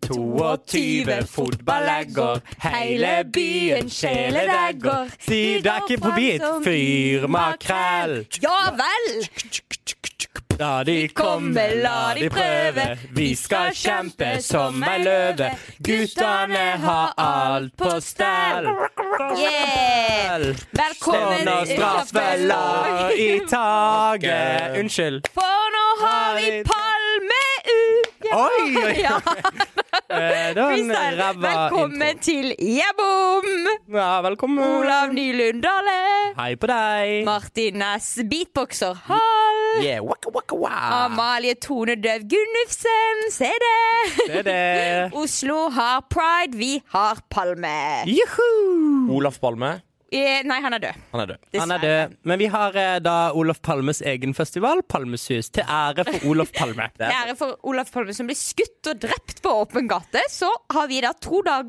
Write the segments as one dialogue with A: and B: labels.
A: 22 fotballegger, hele byen sjeledegger. Si det er ikke forbi et fyr makrell.
B: Ja vel!
A: La de komme, la de prøve. Vi skal kjempe som ei løve. Guttene har alt på stell.
B: Yeah!
A: Og
B: Velkommen
A: nå
B: til
A: straffelar i taket. Unnskyld.
B: For nå har vi palmeuke!
A: Oi, oi, oi.
B: Ja,
A: Eh, Det var en
B: freestyle.
A: ræva
B: Velkommen
A: intro.
B: til Jebom!
A: Ja, velkommen.
B: Olav Nylund Dale.
A: Hei på deg.
B: Martin Næss, beatboxer. Hall.
A: Yeah, waka, waka,
B: Ah,
A: wa.
B: Amalie Tone Døv Gunnufsen. Se det!
A: Det er
B: Eh.
A: det.
B: Oslo har pride, vi har Palme.
A: Juhu!
C: Olaf Palme,
B: Eh, Nei, han er død.
C: han er død.
A: Han er
B: Dessverre.
A: død. Men vi har eh, da Olof Palmes egen festival, Palmesus, til ære for Olof Palme.
B: Til ære for Olaf Palme, som ble skutt og drept på åpen gate, så har vi da to dager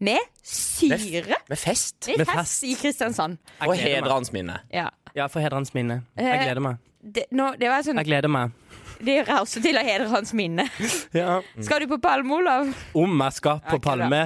B: med
C: Med,
B: syre.
C: f- med fest.
B: Med
A: med
B: fest i Kristiansand.
C: Og
A: Jeg gleder
C: hedre
A: meg.
C: hans minne.
B: Ja.
A: Ja, for hedre hans minne. Jeg
B: Eh.
A: gleder meg.
B: Det, nå, det var sånn
A: Jeg gleder meg.
B: Det rauser til å hedre hans minne.
A: Ja.
B: Skal du på Palme, Olav?
A: Om jeg skal på
B: ikke bra.
A: Palme.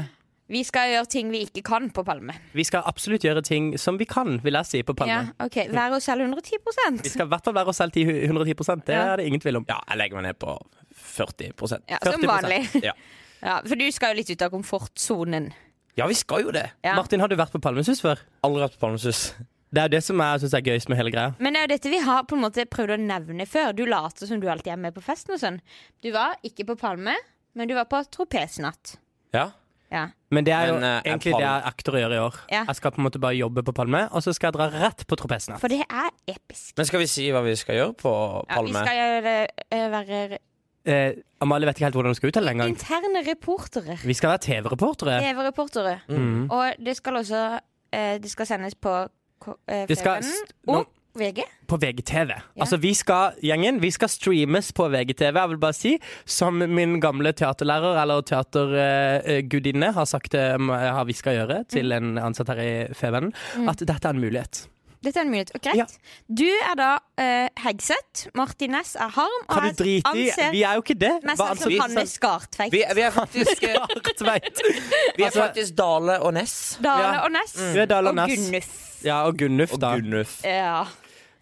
B: Vi skal gjøre ting vi ikke kan på Palme.
A: Vi skal absolutt gjøre ting som vi kan, vil jeg si, på
B: Ja,
A: Palme.
B: ok, Være oss selv 110
A: Vi skal i hvert fall være oss selv til 110 det
B: Ja.
A: er det ingen tvil om.
C: Ja, jeg legger meg ned på 40
B: Ja, Som
A: 40%.
B: vanlig.
C: Ja.
B: Ja, for du skal jo litt ut av komfortsonen.
C: ja, vi skal jo det.
B: Ja.
A: Martin, har du vært på Palmesus før?
C: Aldri vært på Palmesus.
A: Det er jo det som jeg syns er gøyest med hele greia.
B: Men det er jo dette vi har på en måte prøvd å nevne før. Du later som du alltid er med på festen og sånn. Du var ikke på Palme, men du var på tropesnatt.
C: Ja.
B: Ja.
A: Men det er jo
C: Men, eh, en
A: egentlig det
C: palm-
A: jeg akter å gjøre i år.
B: Ja.
A: Jeg skal på en måte bare jobbe på Palme, og så skal jeg dra rett på tropesene.
B: For det er episk.
C: Men skal vi si hva vi skal gjøre på
B: Ja, vi
C: Palme?
B: skal gjøre, eh, være
A: Eh, Amalie vet ikke helt hvordan hun skal uttale det engang.
B: interne reportere.
A: Vi skal være TV-reportere.
B: TV-reportere.
A: Mm.
B: Og det skal også eh, Det skal sendes på K- eh,
A: Det skal
B: Fedrelandet
A: st- nå-
B: og VG.
A: På VGTV. Altså, vi skal, gjengen, vi skal streames på VGTV. Jeg vil bare si, som min gamle teaterlærer eller teatergudinne har sagt det m- har vi skal gjøre
B: Mm.
A: til en ansatt her i Fevennen, at dette er en mulighet.
B: Dette er en mulighet. Og greit.
A: Ja.
B: Du er da eh, Hegseth. Martin Næss er Harm. Og
A: Kan du
B: jeg
A: drite i?
B: anser
A: Vi er jo ikke det.
B: mest
A: Hva
B: sannsynlig som Hanne Skartveit.
C: Vi, vi er faktisk,
A: anser Tveit?
C: vi er faktisk Dale og Ness.
B: Dale
A: Ja.
B: og Næss.
A: Vi er Dale og
B: og
A: Næss.
B: Gunnuf.
A: Ja, og Gunnuf,
C: Og
A: da.
C: Gunnuf.
B: Ja.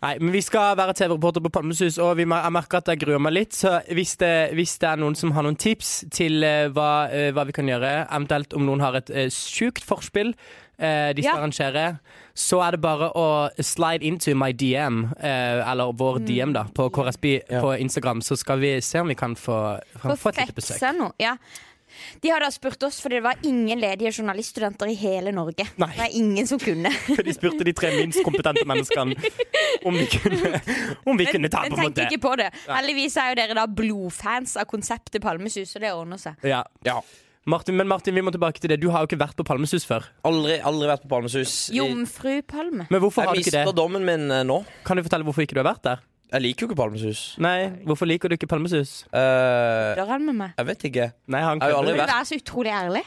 A: Nei, men Vi skal være TV-reporter på Palmesus, og vi, mer- jeg merker at jeg gruer meg litt. Så hvis det, hvis det er noen som har noen tips til eh, hva, eh, hva vi kan gjøre, eventuelt om noen har et eh, sjukt forspill eh, de skal
B: Ja.
A: arrangere, så er det bare å slide into my DM, eh, eller
B: Mm.
A: vår DM, da, på KRSB på Instagram, så skal vi se om vi kan få, kan få et lite besøk.
B: Perfekse nå. Ja. De har da spurt oss, fordi det var ingen ledige journaliststudenter i hele Norge.
A: Nei.
B: Det er ingen som kunne.
A: De spurte de tre minst kompetente menneskene om vi kunne, om vi kunne ta
B: Men
A: på en
B: tenkte
A: måte.
B: ikke på det. Heldigvis er jo dere da blodfans av konseptet Palmesus, og det ordner seg.
A: Ja.
C: Ja.
A: Martin, men Martin, vi må tilbake til det. Du har jo ikke vært på Palmesus før.
C: Aldri, aldri vært på Palmesus. Jeg
B: Jomfru Palme.
A: Men hvorfor har du ikke
C: mister
A: det?
C: dommen min eh, nå.
A: Kan du fortelle hvorfor ikke du har vært der?
C: Jeg liker jo ikke Palmesus.
A: Nei, Hvorfor liker du ikke Palmesus?
C: Eh,
B: Dør han med meg?
C: jeg vet ikke.
A: Nei, han
C: Jeg har jo
A: kødder.
C: aldri
B: Du
C: vært-
B: er så utrolig ærlig.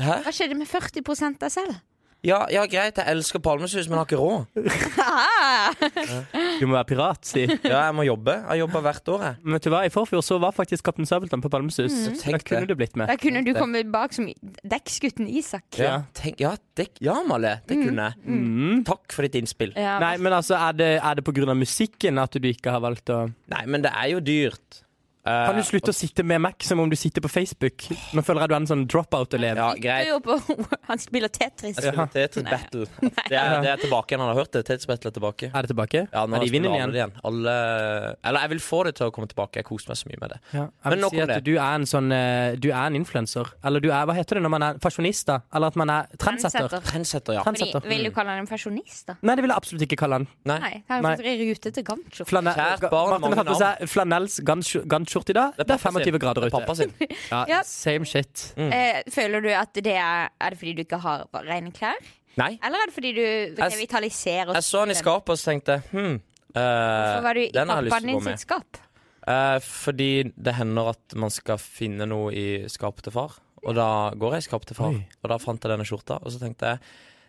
C: Hæ?
B: Hva skjedde med 40 deg selv?
C: Ja, ja, greit, jeg elsker Palmesus, men jeg har ikke råd.
A: Du må være pirat, si.
C: Ja, jeg må jobbe. Jeg jobber hvert år, jeg.
A: Men vet du hva, I forfjor så var faktisk Kaptein Sabeltann på Palmesus. Da
C: Mm. Tenk
A: kunne
C: det.
A: du blitt med.
B: Da kunne du komme bak som dekksgutten Isak.
C: Ja, tenk, ja, det, ja Amalie, det kunne jeg.
A: Mm.
C: Takk for ditt innspill.
B: Ja.
A: Nei, men altså, Er det, er det pga. musikken at du ikke har valgt å
C: Nei, men det er jo dyrt. Eh,
A: Kan du slutte å sitte med Mac som om du sitter på Facebook? Nå føler jeg du er en sånn dropout-elev.
C: Ja,
B: Du er
C: greit.
B: jo på- Han spiller Tetris.
C: Eh, Jeg skulle til Tetris Battle. Det er, det er tilbake igjen. Han har hørt det. Tetris Battle er tilbake.
A: Er det tilbake?
C: Ja, nå
A: er de i
C: spiller
A: vinden
C: alle
A: igjen?
C: det igjen. Alle, eller jeg vil få det til å komme tilbake. Jeg koser meg så mye med det.
A: Ja, jeg
C: Men
A: vil
C: nok
A: si
C: om
A: at
C: det.
A: du er en sånn eh, Du er en influenser. Eller du er Hva heter det når man er fasjonist, da? Eller at man er trendsetter?
B: Trendsetter.
C: Trendsetter, ja.
B: Fordi,
A: Trendsetter.
B: vil du kalle han en fasjonist, da?
A: Nei, det vil jeg absolutt ikke kalle han.
C: Nei.
B: Nei, han
A: Nei.
B: er faktisk i rute til Gancho.
A: Flanell,
C: Kjært barn,
A: Martin har
C: mange
A: på seg flanells gans- gantskjorte i dag. Det er
C: pappa sin.
A: 25 grader
C: Det er
A: ute.
C: Pappa sin.
A: Ja,
B: Ja.
A: Same shit.
C: Mm.
B: Eh, føler du at det er Er det fordi du ikke har rene klær?
C: Nei.
B: Eller er det fordi du revitaliserer og
C: Jeg så han i skapet og så tenkte jeg, hm, eh,
B: Så var du i
C: den har jeg lyst
B: pappaen
C: til å
B: din
C: gå
B: sitt
C: med.
B: skap?
C: Eh, fordi det hender at man skal finne noe i skapet til far. Og da går jeg i skapet til far,
A: Oi.
C: og da fant jeg denne skjorta. Og så tenkte jeg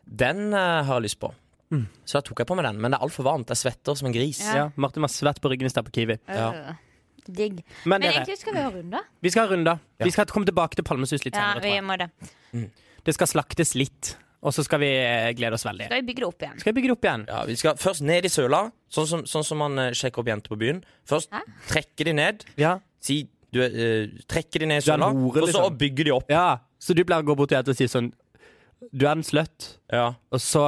C: den eh, har jeg lyst på.
A: Mm.
C: Så da tok jeg på meg den. Men det er altfor varmt. Jeg svetter som en gris.
B: Ja.
A: Ja, Martin var svett på ryggen i stad på Kiwi.
C: Ja.
B: Digg.
A: Men,
B: Men
A: dere,
B: egentlig skal vi ha runder.
A: vi skal ha runder.
C: Ja.
A: Vi skal komme tilbake til Palmesus litt
B: Ja,
A: senere.
B: vi
A: tror jeg.
B: må det.
A: Det skal slaktes litt, og så skal vi eh, glede oss veldig.
B: Skal vi bygge det opp igjen?
A: Skal jeg bygge det opp igjen?
C: Ja, vi skal først ned i søla, sånn som, sånn som man eh, sjekker opp jenter på byen. Først
B: Hæ?
C: trekker de ned.
A: Ja.
C: Si du er, eh, Trekker de ned i
A: Du er en
C: søla,
A: hore,
C: og så
A: liksom.
C: bygger de opp.
A: ja. Så du pleier å gå bort til henne og si sånn Du er en slutt,
C: Ja.
A: og så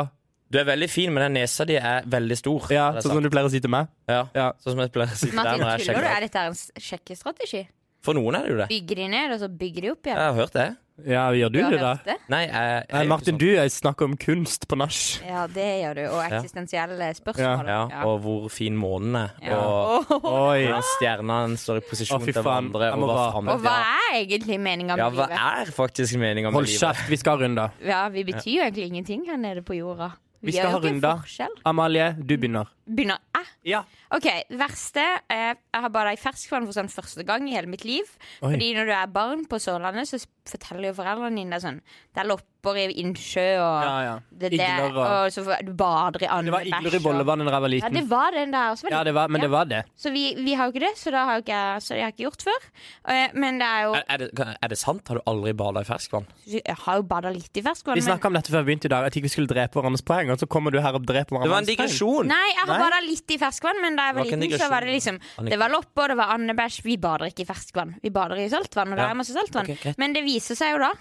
C: Du er veldig fin, men den nesa di er veldig stor.
A: Ja,
C: Det er
A: sånn som
C: sant.
A: du pleier å si til meg.
C: ja.
A: Ja.
C: sånn som jeg pleier å si til deg
B: Martin,
C: når jeg
B: tuller du?
C: sjekker opp.
B: Er dette en s- sjekkestrategi?
C: For noen er det jo det.
B: Bygger de ned, og så bygger de opp
C: Jeg
B: igjen?
C: har hørt det.
A: Ja, gjør du
B: har
A: det, da?
B: hørt det?
C: Nei, eh, jeg, sånn- jeg,
A: Nei, Martin, du snakker om kunst på nach.
B: Ja, det gjør du. Og eksistensielle spørsmål.
C: ja, og hvor fin månen er,
B: Ja.
C: og
B: Og,
A: Oi.
C: hvordan stjernene står i
A: Å,
C: posisjon
A: fy
C: til
A: faen,
C: hverandre,
A: jeg
C: og
A: må
C: hva
A: bare-
C: fremtiden-
B: og hva er egentlig meninga
C: Ja,
B: med
C: hva
B: livet?
C: er faktisk meninga med
A: Hold
C: livet?
A: kjeft, vi skal ha runder.
B: Ja, Vi betyr jo egentlig ingenting her nede på jorda.
A: Vi skal
B: gjør
A: ha
B: jo ikke en
A: runder.
B: forskjell.
A: Amalie, du begynner.
B: Begynner jeg?
A: Ja.
B: OK, verste. eh, Jeg har bada i ferskvann for sånn første gang i hele mitt liv.
A: Oi.
B: Fordi når du er barn på Sørlandet, så s- forteller jo foreldrene dine deg sånn Det er lopper i innsjø, og
A: Ja, ja.
B: det, det,
A: Igler og-
B: og så får- du bader i
A: Det
B: andebæsj.
A: var igler i
B: og-
A: bollevann da jeg var
B: Ja,
A: liten.
B: det var den der. Også,
A: Ja, det var, men det var det.
B: Så vi, vi har jo ikke det, så, da har jo ikke, jeg- så det har jeg ikke gjort før. Eh, Men det er jo
C: Er, er, det, er det sant? Har du aldri bada i ferskvann?
B: Jeg har jo bada litt i ferskvann.
A: Eh. Vi
B: Men,
A: snakka om dette før vi begynte i dag, at ikke vi skulle drepe hverandres poeng. Og så kommer du her og dreper
C: Det var en
A: hverandres poeng.
C: digresjon!
B: nei, jeg har
A: Nei?
B: bada litt i ferskvann, men da jeg var
C: Det var ikke en
B: liten, så
C: digresjon.
B: var det liksom Det var lopper, det var andebæsj. Vi bader ikke i ferskvann. Vi bader i saltvann, og der
C: Ja.
B: er masse saltvann.
C: Ok, greit.
B: men det viser seg jo da,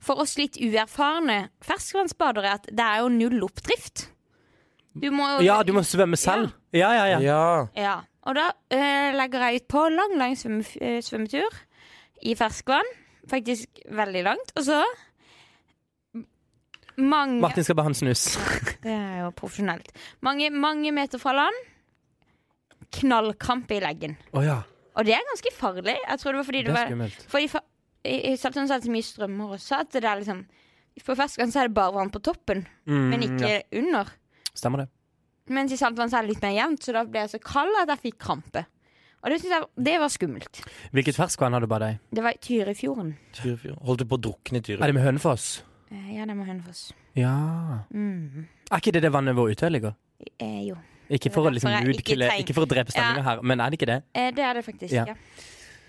B: for oss litt uerfarne ferskvannsbadere, at det er jo null oppdrift. Du må jo
A: Ja, du må svømme selv. Ja, ja, ja.
C: Ja.
B: Ja, og da eh, legger jeg ut på lang, lang svømme, eh, svømmetur i ferskvann. Faktisk veldig langt. Og så m- mange
A: Martin skal bare ha en snus.
B: Det er jo profesjonelt. Mange, mange meter fra land. Knallkrampe i leggen.
A: Å ja.
B: Og det er ganske farlig. Jeg tror det var fordi
A: Det
B: det
A: er
B: var
A: skummelt.
B: fordi fa- i i Saltvann så er det så mye strømmer også. At det er liksom På ferskvann så er det bare vann på toppen,
A: Mm,
B: men ikke
A: ja.
B: under.
A: Stemmer det.
B: Mens i saltvann så er det litt mer jevnt, så da ble jeg så kald at jeg fikk krampe. Og det synes jeg det var skummelt.
A: Hvilket ferskvann har du bada i?
B: Det var i Tyrifjorden.
C: Tyrifjorden. Holdt du på å drukne i
A: Er
C: Tyrifjorden?
A: det med Hønefoss?
B: Eh, Ja, det må Hønefoss.
A: Ja.
B: Mm.
A: Er ikke det det vannet hvor Utøya ligger?
B: Eh, jo.
A: Ikke for, å liksom
B: Derfor jeg ikke
A: nudkille,
B: treng-
A: ikke for å drepe stemninga her, men er det ikke det?
B: Eh, det er det faktisk.
A: Ja.
B: Ja.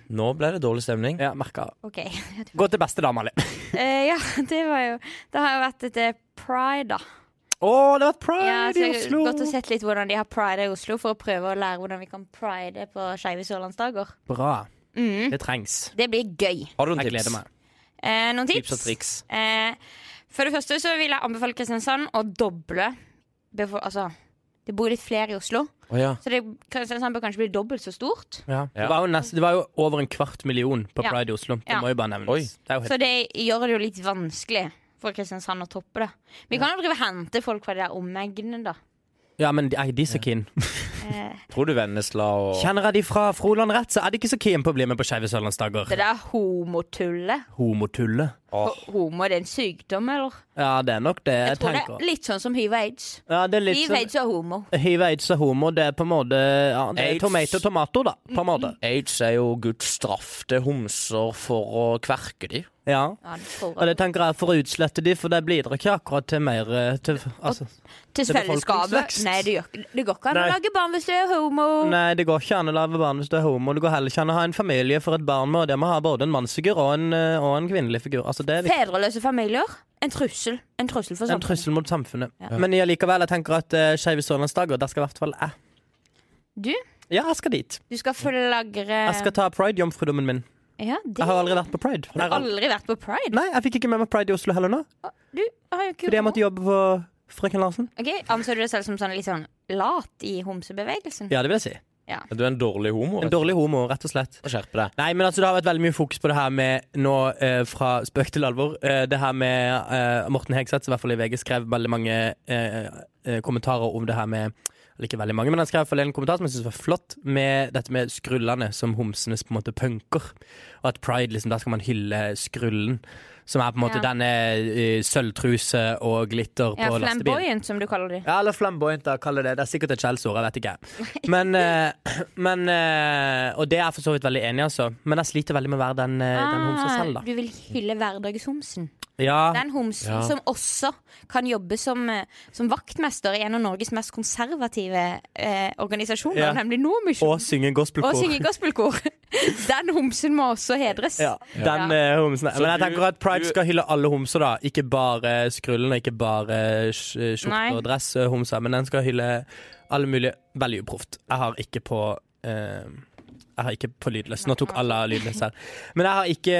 C: Nå ble det dårlig stemning.
A: Ja, merka.
B: OK. eh,
A: Gå til beste, da, Amalie.
B: ja, det var jo Det har jo vært et eh, pride, da.
A: Å, det var pride
B: Ja, så
A: i
B: jeg har
A: Oslo!
B: gått og sett litt hvordan de har pride i Oslo, for å prøve å lære hvordan vi kan pride på skeive sørlandsdager.
A: Bra.
B: Mm.
A: Det trengs.
B: Det blir gøy.
C: Har du en
A: Jeg
C: tips?
A: gleder meg.
B: Eh, noen tips?
C: Tips og triks.
B: Eh, for det første så vil jeg anbefale Kristiansand å doble befo- Altså, det bor litt flere i Oslo,
C: Å ja.
B: så det, Kristiansand bør kanskje bli dobbelt så stort.
A: Det, var jo nest, det var jo over en kvart million på
B: Ja.
A: Pride i Oslo. Det
B: Ja.
A: må jo bare nevnes.
C: Oi.
A: Det er jo helt...
B: Så det gjør det jo litt vanskelig for Kristiansand å toppe det. Vi kan jo drive og hente folk fra de der omegnene, da.
A: Ja, men de, nei, de er så keen.
B: Eh,
C: Tror du Vennesla og
A: Kjenner jeg de fra Froland rett, så er de ikke så keen på å bli med på Skeive sørlandsdager.
B: det der homotullet.
A: Homotulle.
C: Åh,
B: Ho- Homo, det er en sykdom, eller?
A: Ja, det er nok det jeg,
B: Jeg tror det
A: tenker.
B: er litt sånn som hiv og aids.
A: Ja, det er litt
B: Hiv,
A: sånn
B: aids og homo.
A: Hiv, aids og homo, det er på en måte ja, det er
C: Aids.
A: Tomato, tomato, da. På en måte.
C: Aids er jo Guds straff til homser for å kverke de.
B: Mm-hmm.
A: Ja.
B: Ja, det tror
A: Og
B: jeg.
A: det tenker jeg for å utslette de, for det blir ikke akkurat til mer eh, til, altså, det
B: Til
A: er
B: fellesskapet.
A: befolkningsvekst.
B: Nei, det, gjør, ikke- det går ikke an å
A: Nei.
B: lage barn hvis du er homo.
A: Nei, det går ikke an å lage barn hvis du er homo. Det går heller ikke an å ha en familie for et barn med, og det må ha både en mannsfigur og en, eh, og en kvinnelig figur. Altså, det er viktig.
B: Fedreløse familier. En trussel. En trussel for
A: En
B: samfunnet.
A: trussel mot samfunnet.
B: Ja.
A: Men jeg likevel, jeg tenker at uh, Skeive sørlandsdager, der skal i hvert fall jeg.
B: Du,
A: Ja, jeg skal dit.
B: du skal flagre
A: Jeg skal ta pride-jomfrudommen min.
B: Ja, det
A: Jeg har aldri vært på pride.
B: Du Eh. har
A: Nei,
B: aldri vært på pride.
A: Nei, jeg fikk ikke med meg pride i Oslo heller nå,
B: Du har jo ikke
A: fordi jeg måtte jobbe på Frøken Larsen.
B: Ok, Anser du deg selv som sånn litt sånn lat i homsebevegelsen?
A: Ja, det vil jeg si.
C: Du er en dårlig homo.
A: En dårlig homo, rett og slett.
C: Skjerpe deg.
A: Nei, men altså Det har vært veldig mye fokus på det her med nå eh, fra spøk til alvor. Eh, det her med eh, Morten Hegseth, som i hvert fall i VG skrev veldig mange eh, eh, kommentarer om det her med eller ikke veldig mange, men Han skrev i hvert fall en kommentar som jeg synes var flott, med dette med skrullene som homsenes på en måte punker. Og at pride, liksom, der skal man hylle skrullen. Som er på en måte
B: Ja.
A: denne eh, sølvtruse og glitter
B: Ja,
A: på lastebilen.
B: flamboyant, som du kaller de.
A: Ja, eller flamboyant, da, kall det det. Det er sikkert et skjellsord, jeg vet ikke. Men, eh, men eh, Og det er jeg
B: Ah.
A: for så vidt veldig enig i, altså. Men jeg sliter veldig med å være den, eh, den homsa selv, da. Ah,
B: du vil hylle hverdagshomsen. Det
A: Ja,
B: er en homsen
C: Ja.
B: som også kan jobbe som, eh, som vaktmester i en av Norges mest konservative eh, organisasjoner,
A: Ja.
B: nemlig Nordmisjon.
A: og synge
B: Og
A: gospelkor.
B: synge gospelkor. Den homsen må også hedres.
A: Ja, den eh, homsen.
C: Så
A: Men jeg
C: du-
A: tenker at Pride
C: du-
A: skal hylle alle homser, da. Ikke bare skrullen og ikke bare eh, sk-
B: Nei.
A: skjorte- og dress-homser, men den skal hylle alle mulige Veldig uproft. Jeg har ikke på eh, Jeg har ikke på lydløs. Nå tok alle av lydløs her. Men jeg har ikke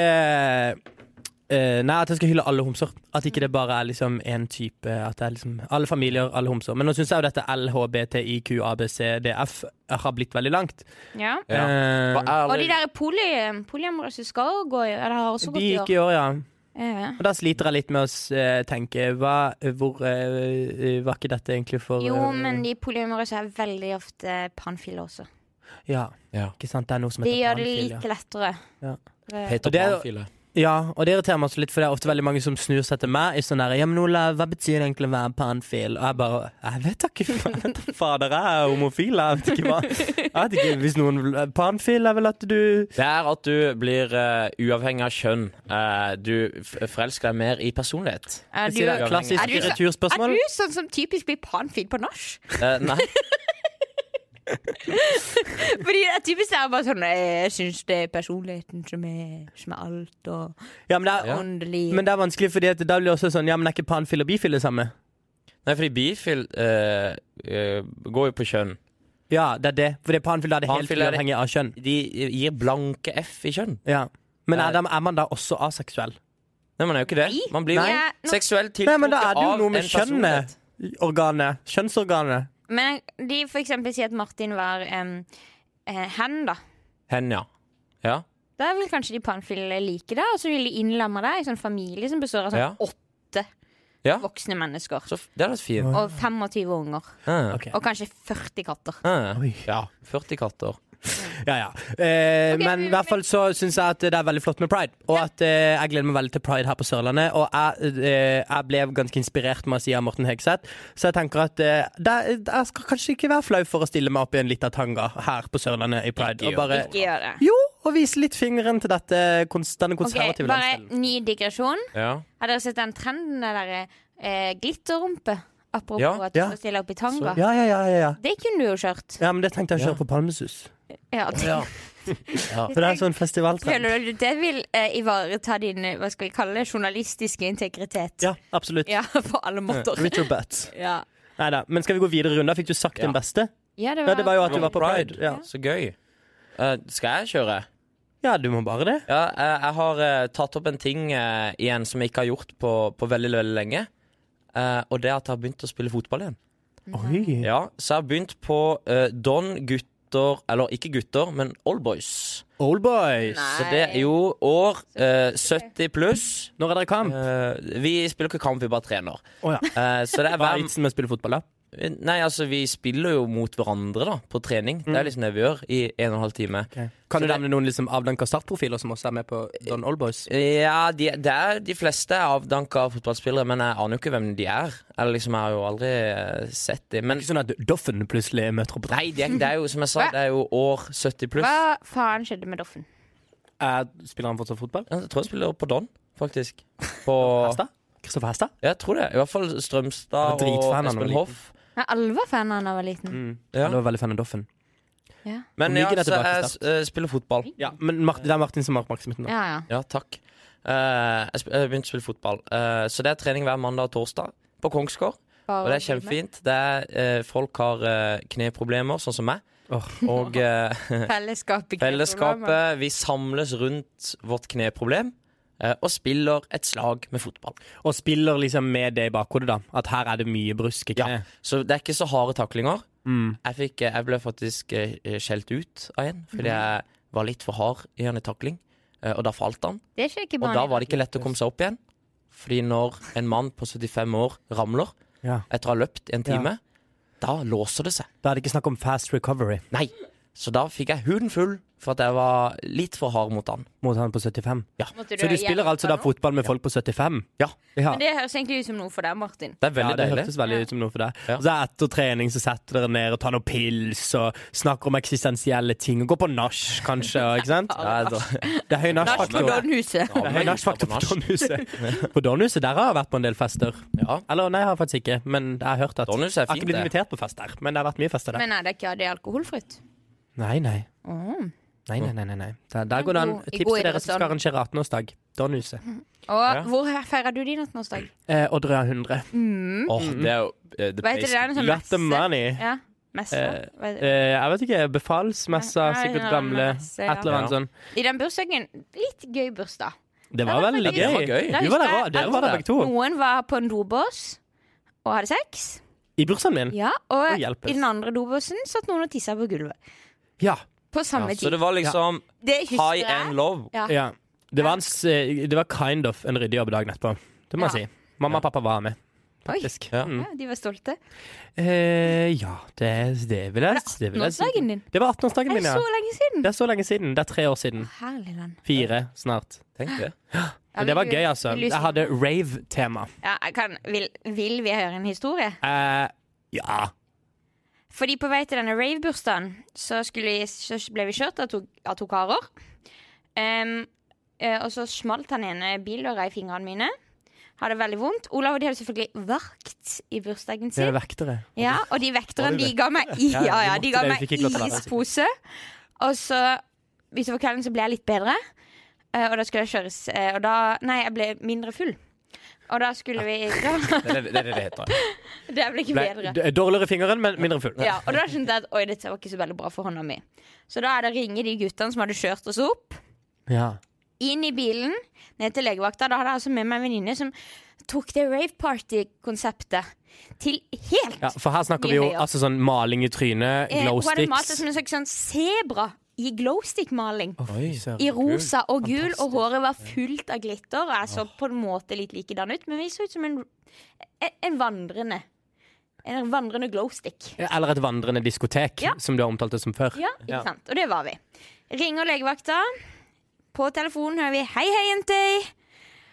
A: eh, nei, at jeg skal hylle alle homser. At ikke det bare er liksom én type. At det er liksom Alle familier, alle homser. Men nå syns jeg jo dette LHBTIQABCDF har blitt veldig langt.
B: Ja.
C: Ja.
A: Eh,
C: Hva er
B: Og de
C: det-
B: der poly, polyamorøse skal jo gå i Eller har også gått
A: de
B: i år.
A: gikk i år, ja.
B: Ja.
A: Og da sliter jeg litt med å s- eh, tenke hva, hvor eh, Var ikke dette egentlig for
B: Jo,
A: eh,
B: men de polyamorøse er veldig ofte panfile også.
A: Ja,
C: Ja.
A: ikke sant. Det er noe som
B: De
A: heter
B: gjør det
A: panfil, ja.
B: litt lettere. Eh,
A: Ja.
B: Det-
C: Peter
A: Og det er jo-
C: Panfile.
A: ja, og det irriterer meg også litt, for det er ofte veldig mange som snur seg til meg i sånn der Ja, men Ola, hva betyr det egentlig å være panfil? Og jeg bare Jeg vet da ikke, faen, jeg vet da fader. Jeg er homofil, jeg vet ikke hva Jeg vet ikke, hvis noen Panfil er vel at du
C: Det er at du blir eh, uavhengig av kjønn. Eh, du f- forelsker deg mer i personlighet.
B: Er du,
A: Sier det er
B: er
A: klassisk
B: Er du så-
A: returspørsmål.
B: du sånn som typisk blir panfil på nach?
C: Eh, nei.
B: Fordi det er typisk det er bare sånn Jeg syns det er personligheten som er, som er alt, og
A: Ja, men det er,
B: åndelig
A: men det er vanskelig, fordi at da blir det også sånn Ja, men er ikke panfil og bifil det samme?
C: nei, fordi bifil eh, eh, går jo på kjønn.
A: Ja, det er det. Fordi panfil da er det helt
C: Panfil er det-
A: uavhengig av kjønn.
C: De gir blanke F i kjønn.
A: Ja. Men er,
C: Eh,
A: da- er man da også aseksuell?
C: Nei, man er jo ikke det.
B: Nei.
C: Man blir
B: Nei.
C: jo seksuelt
A: Nei, men
C: tiltrukket
A: da er det jo
C: av
A: noe med
C: en personlighet.
A: kjønnet. Organet. Kjønnsorganet.
B: Men de for eksempel sier at Martin var em, eh, hen, da.
C: Hen, ja. ja.
B: Da vil kanskje de panfile like det, og så vil de innlemme deg i en sånn familie som består av sånn
C: Ja.
B: åtte
C: Ja.
B: voksne mennesker.
C: Så f- det hadde vært fint.
B: Og 25 unger.
C: Eh,
A: Ok.
B: Og kanskje 40 katter.
C: eh,
A: Oi.
C: Ja. 40 katter.
A: Ja, ja. Eh,
B: Ok,
A: men i
B: men-
A: hvert fall så syns jeg at det er veldig flott med pride. Og at eh, jeg gleder meg veldig til pride her på Sørlandet. Og jeg, eh, jeg ble ganske inspirert med å si av Morten Hegseth, så jeg tenker at eh, det, jeg skal kanskje ikke være flau for å stille meg opp i en lita tanga her på Sørlandet i pride.
C: Ikke
A: Og
C: gjør
A: bare
B: Ikke gjør det.
A: Jo, og vise litt fingeren til dette, kons- denne
B: Ok,
A: konservative
B: Bare
A: landsdelen.
B: ny digresjon.
C: Ja.
B: Har dere sett den trenden det derre eh, glitterrumpe? Apropos
C: Ja,
B: at du
A: ja.
B: skal stille opp i tanga.
A: Ja, ja, ja, ja, ja.
B: Det kunne du jo kjørt.
A: ja, men det tenkte jeg å
C: Ja.
A: kjøre på Palmesus.
B: Ja, det,
C: Ja.
A: For det er sånn festivaltrend.
B: Føler du det vil eh, ivareta din eh, hva skal vi kalle det, journalistiske integritet?
A: Ja, absolutt.
B: Ja, på alle måter.
A: Richard Butt.
B: Ja.
A: Neida, Men skal vi gå videre i runden? Da Fikk du sagt
C: Ja.
A: den beste?
B: Ja,
A: Ja, det var jo at du
C: Det
A: var på Pride. Ja,
C: Så gøy. Eh, skal jeg kjøre?
A: ja du må bare det.
C: Ja, jeg, jeg har eh, tatt opp en ting eh, igjen som jeg ikke har gjort på, på veldig, veldig lenge. Eh, og det er at jeg har begynt å spille fotball igjen.
A: Oi.
C: Ja, Så jeg har begynt på eh, Don gutter, eller ikke gutter, men Oldboys.
A: Old boys.
B: Nei.
C: Så det er jo år eh, 70 pluss.
A: Når er dere kamp?
C: Eh, vi spiller ikke kamp, vi bare trener.
A: Å ja.
C: Eh, så det er
A: Hva er
C: hver
A: vitsen med å spille fotball, da?
C: Nei, altså, vi spiller jo mot hverandre, da, på trening. Det er liksom det vi gjør i en og en halv time.
A: Kan
C: Så
A: du
C: det-
A: nevne noen liksom, avdanka startprofiler som også er med på Don Old Boys?
C: Ja, de, det er, de fleste er avdanka fotballspillere, men jeg aner jo ikke hvem de er. Eller liksom, Jeg har jo aldri eh, sett dem. Men
A: Ikke sånn at Doffen plutselig møter opp?
C: nei, det er, det er jo som jeg sa, det er jo år 70 pluss.
B: Hva faen skjedde med Doffen?
A: Eh, spiller han fortsatt fotball?
C: Jeg tror jeg spiller på Don, faktisk. På,
A: Hestad? Kristoffer Hestad?
C: Ja, jeg tror det. I hvert fall Strømstad
A: Jeg var dritfan
C: og
A: da han var
C: Espen Hoff.
B: Ja, alle var fan da han var liten.
C: Ja.
A: Han var veldig fan av Doffen.
B: Ja,
C: Men
A: Hvor
C: ja,
A: ligger det
C: så
A: tilbake
C: jeg
A: til
C: eh, spiller fotball.
A: Ja, men Mar- det er Martin som har oppmerksomheten nå.
B: ja. ja.
C: Ja, takk. Eh, jeg sp- jeg begynte å spille fotball. Eh, så det er trening hver mandag og torsdag på Kongsgård. Og
B: Bare
C: det er kjempefint. Det er, eh, folk har eh, kneproblemer, sånn som meg.
A: Åh.
C: Og eh,
B: Fellesskapet.
C: Fellesskapet, vi samles rundt vårt kneproblem eh, og spiller et slag med fotball.
A: Og spiller liksom med det i bakhodet, da. At her er det mye brusk i kne.
C: Ja. Så det er ikke så harde taklinger.
A: Mm.
C: Jeg, fikk, eh, jeg ble faktisk eh, skjelt ut av en fordi
B: Mhm.
C: jeg var litt for hard i en takling, eh, og da falt han.
B: Det skjer ikke
C: Og da var
B: bare.
C: det ikke lett å komme seg opp igjen. Fordi når en mann på 75 år ramler
A: Ja.
C: etter å ha løpt en time, da låser det seg.
A: Da er det ikke snakk om fast recovery.
C: Nei. Så da fikk jeg huden full For at jeg var litt for hard mot han.
A: mot han på 75.
B: Måtte
A: Så du
B: ha
A: spiller
B: hjelp
A: altså
B: av
A: da
B: noe?
A: fotball med folk på 75?
C: Ja.
A: ja.
B: Men det høres egentlig ut som noe for deg, Martin.
C: Det er
A: Ja,
C: veldig
A: det
C: deilig.
A: hørtes veldig ut som noe for deg.
C: Ja.
A: Og så Etter trening så setter dere ned og tar noen pils og snakker om eksistensielle ting. Og Går på nach, kanskje. og- Ikke sant?
C: Ja, jeg drar-
A: Det er høy
B: Nach på
A: nachfaktor.
B: Donhuset.
A: Det er høy nachfaktor på Donhuset. På Donhuset der har jeg vært på en del fester.
C: Ja.
A: Eller nei, jeg har faktisk ikke. Men jeg har hørt at Jeg
C: Donhuset er
A: har ikke
C: fint,
A: blitt
C: det.
A: invitert på fest der, men det har vært mye fester der.
B: Men nei, det er ikke det er alkoholfritt.
A: Nei, nei.
B: Mm.
A: Nei, nei, nei, nei, nei. Der, der går det an.
B: God- i Mm.
A: Tips
B: god
A: til dere som
B: idrettsånd.
A: skal arrangere 18-årsdag. Donhuset.
B: Og
C: Ja.
B: hvor feirer du din 18-årsdag?
A: Eh, Odderøya 100.
C: Åh, det er jo eh, the
B: Mm. Hva heter det?
C: place
B: Er det en sånn
A: Got the
B: messe?
A: money.
B: Ja, messe.
A: Eh,
B: Hva heter det?
A: Eh, jeg vet ikke. Befalsmessa,
B: Nei,
A: sikkert
B: nei,
A: gamle.
B: messe,
A: Et
B: ja.
A: eller annet
C: Ja.
A: sånn.
B: I den bursdagen Litt gøy bursdag.
A: Det var
B: Ja,
A: veldig
B: det
A: gøy.
C: var gøy.
A: Du var der også. Dere var der begge to.
B: Noen var på en dobås og hadde sex.
A: I bursdagen min?
B: Ja, og
A: Å, hjelpes.
B: i den andre dobåsen satt noen og tissa på gulvet.
A: Ja.
B: På samme
C: Ja, så det
B: tid.
C: var liksom
B: Det husker
C: high and
B: jeg.
C: low.
B: Ja.
A: ja. Det, var en, s- eh, det var kind of en ryddig jobb dagen etterpå. Det må
B: Ja.
A: jeg si. Mamma og pappa var med,
B: Oi.
A: faktisk.
C: Ja.
A: Mm.
B: Ja, de var stolte.
A: Eh, ja, det, det vil jeg det vil jeg si.
B: 18-årsdagen din?
A: Det var
B: Det
A: 18-årsdagen
B: er
A: min, ja.
B: så lenge siden!
A: Det er så lenge siden. Det er tre år siden.
B: Herlig land.
A: Fire snart.
C: Tenk det.
A: Men det var gøy, altså.
B: Vil du si-
A: Jeg hadde rave-tema.
B: Ja, jeg kan, vil, vil vi høre en historie?
A: Eh, ja.
B: Fordi på vei til denne rave-bursdagen så, skulle vi- så ble vi kjørt av to, av to karer. Em, eh, og så smalt han ene bildøra i fingrene mine. Hadde veldig vondt. Olav og de hadde selvfølgelig vakt i bursdagen
A: Det
B: sin.
A: er vektere.
B: Ja, og de vekterne,
A: Var det
B: de ga meg, i,
A: Ja,
B: ja, ja,
A: du
B: de
A: måtte
B: ga
A: det, du
B: meg
A: fikk ikke lov til å være der, sikkert.
B: ispose. Og så utover kvelden så ble jeg litt bedre, eh, og da skulle jeg kjøres eh, Og da Nei, jeg ble mindre full. Og da skulle vi da,
C: Det er det det, er det det heter.
B: Det ble ikke
A: Ble
B: bedre.
A: d- dårligere i fingeren, men mindre full.
B: Ja, og da skjønte jeg at oi, dette var ikke så veldig bra for hånda mi. Så da er det å ringe de guttene som hadde kjørt oss opp.
A: Ja.
B: inn i bilen, ned til legevakta. Da hadde jeg altså med meg en venninne som tok det rave party-konseptet til helt
A: ja. For her snakker vi jo
B: Mye høyere.
A: altså sånn maling i trynet,
B: Eh,
A: glow
B: Hun hadde malt det
A: sticks
B: som en slags sånn sebra i glowstick-maling.
A: Oi, søren.
B: I rosa og gul, og håret var fullt av glitter. Og jeg så på en måte litt likedan ut, men vi så ut som en, en, en vandrende En vandrende glowstick.
A: Eller et vandrende diskotek,
B: Ja.
A: som du har omtalt det som før.
B: Ja, ikke
A: Ja.
B: sant? Og det var vi. Ringer legevakta. På telefonen hører vi 'hei, hei, jenter'.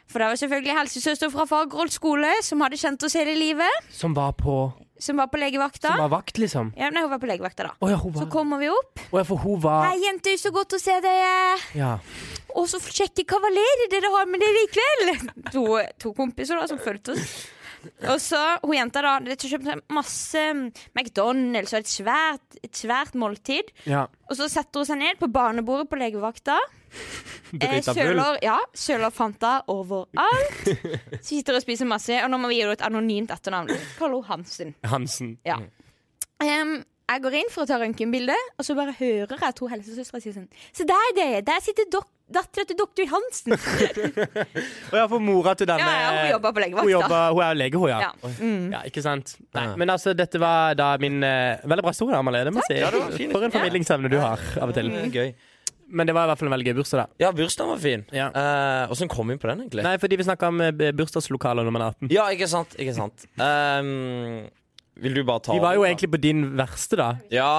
B: For det var selvfølgelig helsesøster fra Fagerholt skole som hadde kjent oss hele livet.
A: Som var på
B: Som var på legevakta.
A: Som var vakt, liksom.
B: Ja, nei, hun var på legevakta, da.
A: Å ja, hun
B: Så
A: var
B: kommer vi opp.
A: Å ja, for hun var
B: 'Hei, jenter, så godt å se dere'.
A: Ja.
B: Og så sjekke kavalerer dere har med dere i kveld. To, to kompiser da, som fulgte oss. Og så hun jenta da, det kjøpte seg masse McDonald's og et svært, et svært måltid.
A: ja.
B: Og så setter hun seg ned på barnebordet på legevakta. Eh,
A: Drita full.
B: Søler, ja, søler Fanta overalt. Sitter og spiser masse. Og nå må vi gi henne et anonymt etternavn. Kaller hun Hansen.
A: Hansen.
B: Ja. Em, jeg går inn for å ta røntgenbilde, og så bare hører jeg to helsesøstre si sånn Se der, dere! Der sitter dok dattera til doktor Hansen.
A: Å ja, for mora til denne
B: Ja, ja, hun jobber på
A: Hun,
B: legevakta.
A: jobber, hun er lege, hun, ja.
B: Ja.
A: Ja, ikke sant? Nei,
C: Ja.
A: men altså, dette var da min eh, Veldig bra historie, Amalie. Det må jeg si.
C: Ja, det var fint.
A: For en formidlingsevne du har av og til.
C: Mm, Gøy.
A: Men det var i hvert fall en veldig gøy bursdag, da.
C: Ja, bursdagen var fin.
A: Ja.
C: Eh, Åssen kom vi på den, egentlig?
A: Nei, fordi vi snakka om eh, bursdagslokaler når man er 18.
C: Ja, ikke sant? Ikke sant. Ehm, vil du bare ta
A: Vi var jo
C: over, da?
A: egentlig på din verste, da.
C: Ja.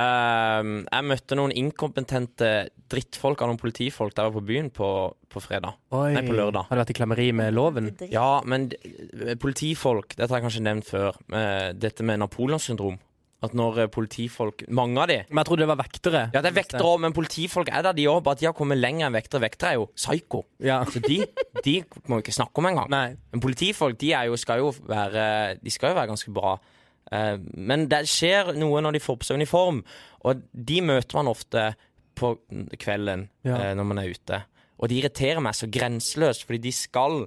C: ehm, jeg møtte noen inkompetente drittfolk av noen politifolk der jeg var på byen på, på fredag. Nei, på lørdag.
A: Har du vært i klammeri med loven?
C: Ja, men d- eh, politifolk Dette har jeg kanskje nevnt før. eh, dette med Napoleonssyndrom. At når eh, politifolk Mange av de
A: Men jeg trodde det var vektere.
C: Ja, det er vektere òg, men politifolk er der, de òg. Bare at de har kommet lenger enn vektere. Vektere er jo psyko.
A: Ja.
C: Så de, de må vi ikke snakke om engang.
A: Nei.
C: Men politifolk de er jo, skal, jo være, de skal jo være ganske bra. Eh, Men det skjer noe når de får på seg uniform, og de møter man ofte på kvelden
A: Ja.
C: eh, når man er ute. Og de irriterer meg så grenseløst, fordi de skal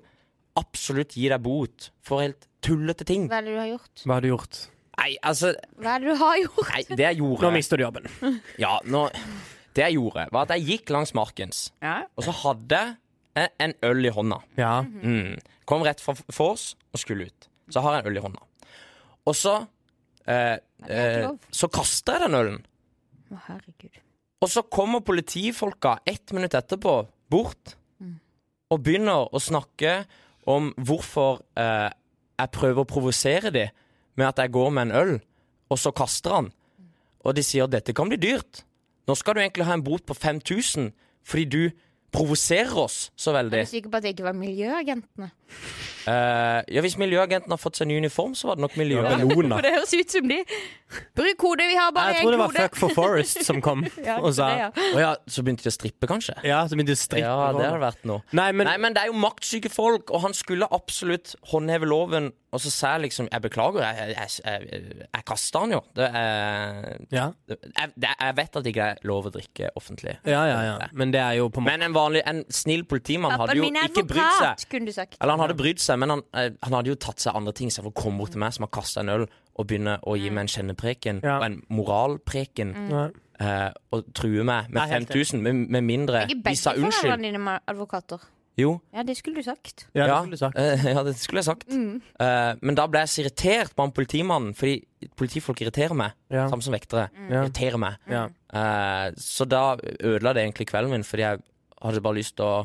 C: absolutt gi deg bot for helt tullete ting.
B: Hva er det du har gjort?
A: Hva har du gjort?
C: Nei, altså
B: Hva er det du har gjort?
C: Nei, det jeg
A: Nå
C: gjorde
A: mister du jobben.
C: Ja, nå Det jeg gjorde, var at jeg gikk langs Markens, og så hadde jeg en øl i hånda.
A: Ja.
C: Mm. Kom rett fra vors og skulle ut. Så har jeg en øl i hånda. Og så eh,
B: ikke
C: eh,
B: lov.
C: Så kaster jeg den ølen.
B: Å, herregud.
C: Og så kommer politifolka ett minutt etterpå bort
B: Mm.
C: og begynner å snakke om hvorfor eh, jeg prøver å provosere dem med at jeg går med en øl, og så kaster han. Og de sier 'dette kan bli dyrt'. Nå skal du egentlig ha en bot på 5000 fordi du provoserer oss så
B: Er
C: veldig.
B: du sikker på at det ikke var miljøagentene?
C: Eh, ja, Hvis miljøagenten har fått seg ny uniform, så var det nok miljøagenten.
A: Bellona.
B: For det høres ut som de Bruk kode, vi har bare
A: Jeg
B: én
A: tror det var
B: kode.
A: Fuck for Forest som kom
B: Ja,
A: og sa
B: det, ja.
C: Å ja, så begynte de å strippe, kanskje?
A: Ja, som industri.
C: Ja, det har det vært nå.
A: Nei, men,
C: Nei, men det er jo maktsyke folk, og han skulle absolutt håndheve loven. Og så sa jeg liksom Jeg beklager, jeg, jeg, jeg, jeg kaster han jo. Det er,
A: ja.
C: jeg, det, jeg vet at det ikke er lov å drikke offentlig.
A: Ja, ja, ja. Men det er jo på en måte
C: Men en vanlig, en snill politimann hadde
B: Pappaen
C: jo
B: min er
C: ikke brydd seg.
B: advokat, kunne du sagt.
C: Eller han hadde brydd seg, men han, eh, han hadde jo tatt seg andre ting. Så for å komme bort til meg som har kasta en øl, og begynne å
B: Mm.
C: gi meg en kjennepreken
A: Ja.
C: og en moralpreken,
A: Nei.
C: eh, og true meg med
A: Nei, helt
C: 5000, med, med mindre
B: Ikke
C: de sa
B: begge
C: unnskyld.
B: foreldrene dine er advokater.
C: Jo,
B: Ja, det skulle du sagt.
A: Ja, det skulle du sagt.
C: eh, ja, det skulle jeg sagt. Eh, men da ble jeg så irritert på han politimannen, fordi politifolk irriterer meg.
A: Ja.
C: Samme som vektere.
A: Ja.
C: Irriterer meg.
A: Ja.
C: Eh, så da ødela det egentlig kvelden min, fordi jeg hadde bare lyst til å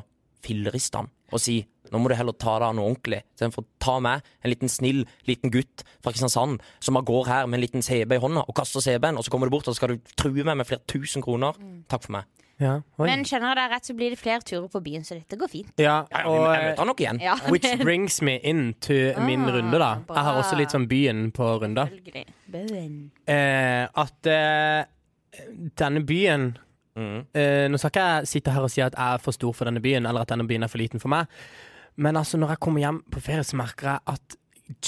C: filleriste han og si nå må du heller ta deg av noe ordentlig. Istedenfor å ta meg, en liten snill liten gutt fra Kristiansand, som bare går her med en liten CB i hånda og kaster CB-en, og så kommer du bort og så skal du true meg med flere tusen kroner. Takk for meg.
A: Ja. Oi.
B: Men kjenner jeg deg rett, så blir det flere turer på byen, så dette går fint.
A: ja,
C: Ja,
A: og
C: jeg møter han nok igjen.
B: Ja,
A: eh, Which brings me in to min
B: Ah,
A: runde, da. Jeg har også litt sånn byen på runda.
B: selvfølgelig. Bøen.
A: Eh, at eh, denne byen
C: Mm.
A: eh, Nå skal ikke jeg sitte her og si at jeg er for stor for denne byen, eller at denne byen er for liten for meg, men altså, når jeg kommer hjem på ferie, så merker jeg at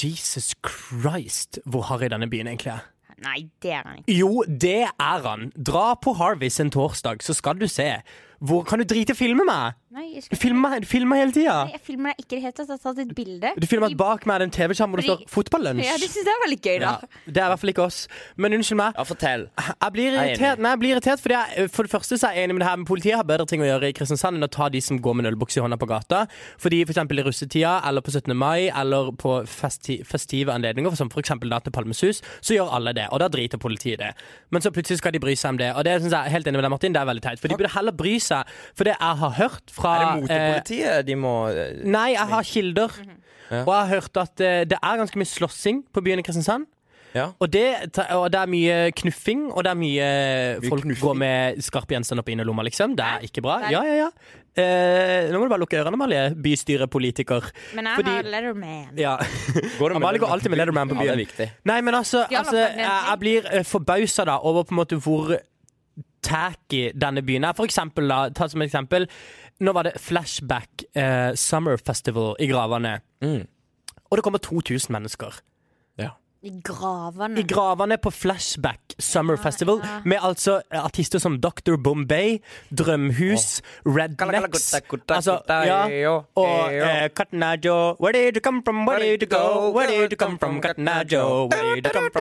A: Jesus Christ, hvor harry denne byen egentlig er.
B: Nei, det er han ikke.
A: Jo, det er han. Dra på Harvis en torsdag, så skal du se. Hvor kan du drite i å filme meg?
B: Nei, jeg,
A: Du
B: skal...
A: filmer, du filmer hele tida.
B: Nei, jeg filmer deg ikke i det hele tatt. Jeg har tatt et bilde.
A: Du filmer at bak meg er det en TV-skjerm hvor det står
B: Fordi-
A: 'Fotballunsj'.
B: Ja, det syns jeg er veldig gøy, da.
A: Ja, det er i hvert fall ikke oss. Men unnskyld meg.
C: Ja, fortell.
A: Jeg blir
C: Jeg er
A: irritert,
C: enig.
A: nei, jeg blir irritert fordi jeg, eh, For det første så er jeg enig med det her med politiet har bedre ting å gjøre i Kristiansand enn å ta de som går med en ølbukse i hånda på gata. Fordi for eksempel i russetida eller på 17. mai eller på festi festive anledninger, som for eksempel da til Palmesus, så gjør alle det. Og da driter politiet i det. Men så plutselig skal de bry seg om det. Og det synes jeg jeg er helt enig med deg, Martin, det er veldig teit. For de burde heller bry seg for det jeg har hørt fra
C: Er det
A: eh,
C: motepolitiet de må Ah, eh,
A: Nei, jeg har kilder. Og jeg har hørt at eh, det er ganske mye slåssing på byen i Kristiansand.
C: Ja.
A: Og, det, ta- og det er mye knuffing, og det er mye,
C: Mye
A: folk
C: knuffing.
A: går med skarpe gjenstander på innerlomma, liksom. Det er ikke bra.
B: Nei.
A: Ja, ja, ja. Eh, nå må du bare lukke ørene, Amalie, bystyrepolitiker.
B: Men jeg
A: Fordi-
B: har Letterman.
A: Ja.
C: Går det med
A: Amalie går alltid med Leatherman på
C: Ja, det er
A: byen.
C: viktig.
A: Nei, men altså,
B: De har lagt
A: altså
B: ned
A: jeg,
B: en
A: jeg
B: ting.
A: blir uh, forbausa da over på en måte hvor tacky denne byen er. For eksempel, da, ta som et eksempel. Nå var det Flashback eh, Summer Festival i Gravane.
C: Mm.
A: Og det kommer 2000 mennesker.
B: I gravene.
A: I gravene på Flashback Summer Festival, med altså eh, artister som Dr. Bombay, Drømhus, Rednecks altså,
C: eh,
A: ja, Og eh, Cotton Eye Joe. Where did you come from, where did you go? Where did you come from, Cotton Eye Joe? Where did you come from?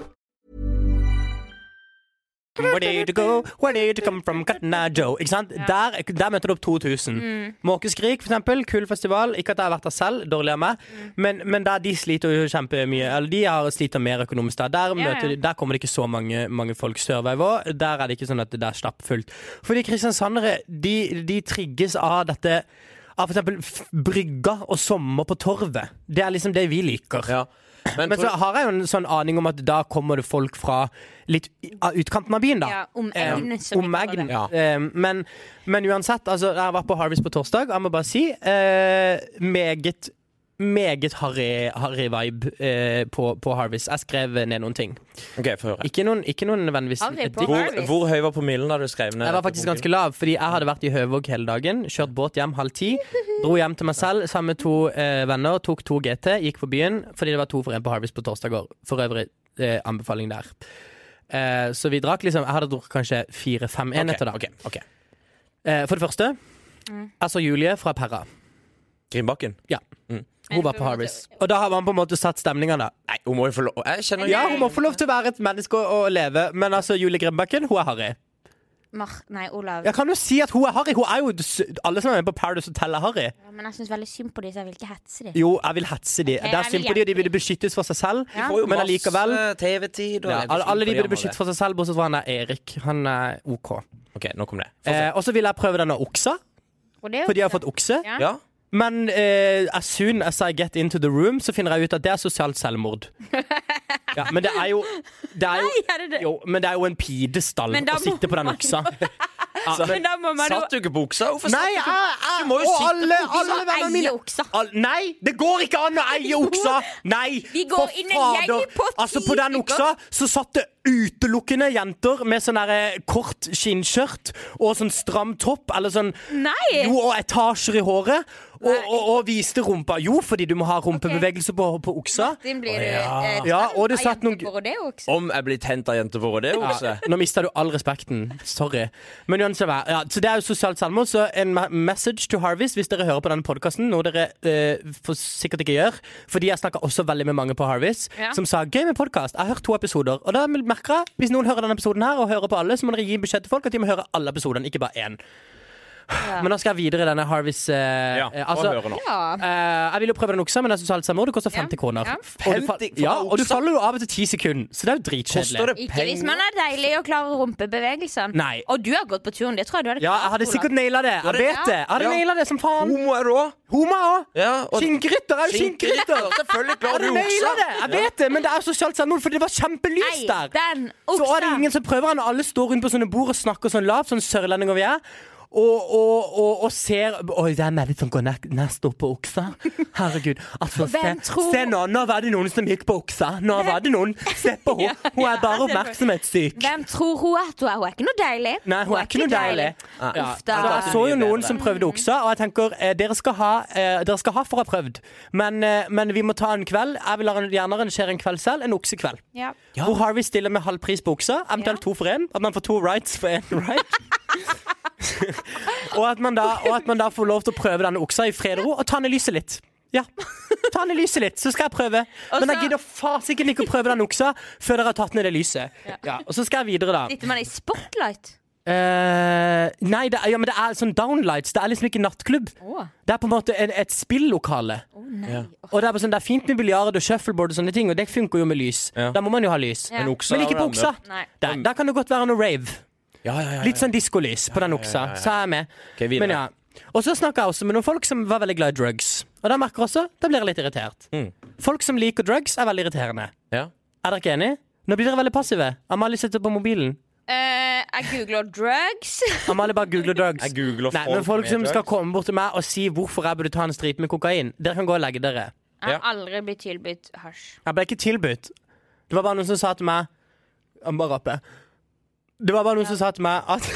A: Where did you go? Where did you come from? Cotton Eye Joe. Ikke sant? Der, der møter du opp 2000.
B: Mm.
A: Måkeskrik, for eksempel. Kul festival. Ikke at jeg har vært der selv, dårlig av meg.
B: Mm.
A: Men, men der de sliter jo kjempemye. Eller de har sliter mer økonomisk. Der, der,
B: Ja, ja.
A: møter de, der kommer det ikke så mange, mange folk. Sørveiv òg. Der er det ikke sånn at det er stappfullt. Fordi kristiansandere, de, de trigges av dette Av for eksempel f- brygga og sommer på torvet. Det er liksom det vi liker.
C: Ja. Men,
A: Men
C: tror-
A: så har jeg jo en sånn aning om at da kommer det folk fra litt i- av utkanten av byen, da.
B: Ja, om
A: Eh,
B: egnen, som vi
A: om
B: kaller
A: egnen.
B: det.
C: Ja.
A: Eh, men, men uansett, altså, jeg var på Harvest på torsdag, og jeg må bare si eh, meget meget harry, harry vibe eh, på, på Harvest. Jeg skrev ned noen ting.
C: Ok, få høre.
A: Ikke noen, ikke noen nødvendigvis
B: Harry på
A: dikt.
C: Hvor,
B: Harvest.
C: hvor høy var promillen da du skrev ned?
A: Jeg var faktisk ganske lav, fordi jeg hadde vært i Høvåg hele dagen. Kjørt båt hjem halv ti. Dro hjem til meg selv sammen med to eh, venner. Tok to GT, gikk på byen fordi det var to for en på Harvest på torsdag går. For øvrig eh, anbefaling der. Eh, så vi drakk liksom Jeg hadde drukket kanskje fire-fem enheter da.
C: Ok, ok, ok.
B: Mm.
A: Eh, for det første, jeg så Julie fra Perra.
C: Grimbakken?
A: Ja. Hun var på Harvest. Og da har man på en måte satt stemninga, da.
C: Nei, hun må jo få lov Jeg kjenner
A: Ja, hun må få lov til å være et menneske og og leve, men altså, Julie Grimbakken, hun er harry.
B: Mar nei, Olav.
A: Jeg kan jo si at hun er harry. Hun er jo s- Alle som er med på Paradise Hotel, er harry.
B: Ja, Men jeg syns veldig synd på de, så jeg vil ikke hetse de.
A: Jo, jeg vil hetse de.
B: jeg
A: Der
B: vil
A: sympati,
B: hjelpe
A: og de burde beskyttes for seg selv,
B: Ja.
C: får jo
A: men allikevel
C: masse eh, TV-tid. og
A: ja,
C: jeg
A: alle, alle de
C: forstår
A: burde beskytte for seg selv, bortsett fra han der Erik. Han er OK.
C: OK, nok om det. Få se.
A: Eh, og så vil jeg prøve denne oksa,
B: Og det er jo
A: for de har
B: ikke
A: fått okse.
B: Ja.
C: ja.
A: Men eh, as soon as I get into the room, så finner jeg ut at det er sosialt selvmord. Ja, men det er jo Det er jo,
B: Nei, er det det?
A: jo, men det er jo en pidestall
B: Men da
A: å
B: må
A: sitte på den
B: man-
A: oksa. Ja,
B: sant. Men da må man jo
C: Satt du ikke buksa? Hvorfor
A: Nei,
C: satt du
A: jeg,
C: ikke
B: ah,
A: jeg,
C: Du må jo
A: og
C: sitte
A: alle,
C: på
A: alle vennene
B: eie
A: mine
B: oksa.
A: Al nei, det går ikke an å eie oksa! Nei,
B: Vi går
A: for
B: inn en gjeng
A: fader.
B: på ti
A: Altså, på den
B: stykker.
A: oksa så satt det utelukkende jenter med sånn derre kort skinnskjørt og sånn stram topp, eller sånn
B: Nei.
A: Jo, og etasjer i håret. Og, og, og viste rumpa. Jo, fordi du må ha rumpebevegelse på, på oksa.
B: Din blir du eh,
A: Ja, og det
B: av
A: satt noen-
B: jentebord, og det er jo ikke så-
C: Om jeg blir tent av jenter for det okse?
A: Nå mista du all respekten. Sorry. Men uansett, hva- ja, så det er jo sosialt selvmord. Så en me- message to Harvest hvis dere hører på denne podkasten, noe dere eh, for sikkert ikke gjør. Fordi jeg snakka også veldig med mange på Harvest
B: Ja.
A: som sa 'gøy med podkast'. Jeg har hørt to episoder. Og da merker jeg hvis noen hører denne episoden her og hører på alle, så må dere gi beskjed til folk at de må høre alle episodene, ikke bare én. Men nå skal jeg videre i denne Harvest eh,
C: Ja, Altså,
A: eh,
C: og høre nå.
B: Ja.
A: Eh, jeg vil jo prøve den oksa, men det er sosialt selvmord. Det koster
B: Ja,
A: 50 kroner.
B: ja.
A: Og, du fa
C: 50 for
A: ja,
C: en
A: og du
C: oksa?
A: faller jo av etter 10 sekunder, så det er jo dritkjedelig.
C: Koster det
B: Ikke hvis man
C: penger?
B: er deilig og klarer rumpebevegelsene.
A: Nei.
B: Og du har gått på turen. Det tror jeg du hadde
A: Ja,
B: klart,
A: jeg hadde
B: Olav.
A: sikkert naila det. Jeg
C: hadde-
A: vet det. Jeg hadde
C: Ja.
A: naila det som faen.
C: Homo er du òg?
A: Homo òg.
C: Ja, og-
A: Skinngryter er jo skinngryter.
C: Selvfølgelig
A: Jeg
C: klarer
A: hadde naila
C: du oksa.
A: det. Jeg vet det, men det er sosialt selvmord, for det var kjempelys
B: Nei,
A: der.
B: den
A: Så er det
B: oksa.
A: ingen som prøver han, og alle står rundt på sånne bord og snakker sånn lavt, sånn sørlendinger vi er. Og, og, og, og ser Oi, det er Melly som går nest, nest opp på oksa. Herregud. Altså, se,
B: Hvem tror-
A: se nå, nå var det noen som gikk på oksa. Nå var det noen. Se på henne. Hun er bare oppmerksomhetssyk.
B: Hvem tror hun at hun er? Hun er ikke noe deilig.
A: Nei, hun er ikke noe deilig.
B: Ja. Uff da.
A: Så jeg så jo noen som prøvde oksa, og jeg tenker eh, dere, skal ha, eh, dere skal ha for å ha prøvd. Men, eh, men vi må ta en kveld. Jeg vil arran- gjerne arrangere en kveld selv, en oksekveld.
B: Ja.
A: Hvor Harvey stiller med halv pris på oksa, eventuelt to for én. At man får to rights for én right. og, at man da, og at man da får lov til å prøve denne oksa i fred og ro, og ta ned lyset litt. Ja. Ta ned lyset litt, så skal jeg prøve. Men jeg
B: så-
A: gidder fasiken ikke å prøve den oksa før dere har tatt ned det lyset. Ja. Og så skal jeg videre, da.
B: Sitter man i spotlight?
A: Eh, nei, det er, ja, men det er sånn downlights. Det er liksom ikke nattklubb.
B: Å.
A: Det er på en måte en, et spillokale.
B: Å nei.
A: Og det er, bare sånn, det er fint med biljard og shuffleboard, og sånne ting Og det funker jo med lys.
C: Ja.
A: Da må man jo ha lys.
B: Ja. Men
C: oksa
A: Men ikke
C: er jo
A: på oksa.
C: random.
B: Nei.
A: Der, der kan det godt være noe rave.
C: Ja, ja, ja,
A: Litt sånn diskolys på den oksa. Så er jeg med.
C: Ok, videre.
A: Men ja. Og så snakker jeg også med noen folk som var veldig glad i drugs. Og da merker jeg også, da blir jeg litt irritert.
C: Mm.
A: Folk som liker drugs, er veldig irriterende.
C: ja.
A: Er dere ikke enige? Nå blir dere veldig passive. Amalie sitter på mobilen.
B: Eh, jeg googler drugs.
A: Amalie bare googler drugs.
C: Jeg googler
A: Nei, men folk
C: med
A: som skal
C: drugs.
A: komme bort til meg og si hvorfor jeg burde ta en stripe med kokain, dere kan gå og legge dere.
B: Jeg har
C: Ja.
B: aldri blitt tilbudt hasj.
A: Jeg ble ikke tilbudt. Det var bare noen som sa til meg Jeg må bare rappe. Det var bare noen som sa til meg at,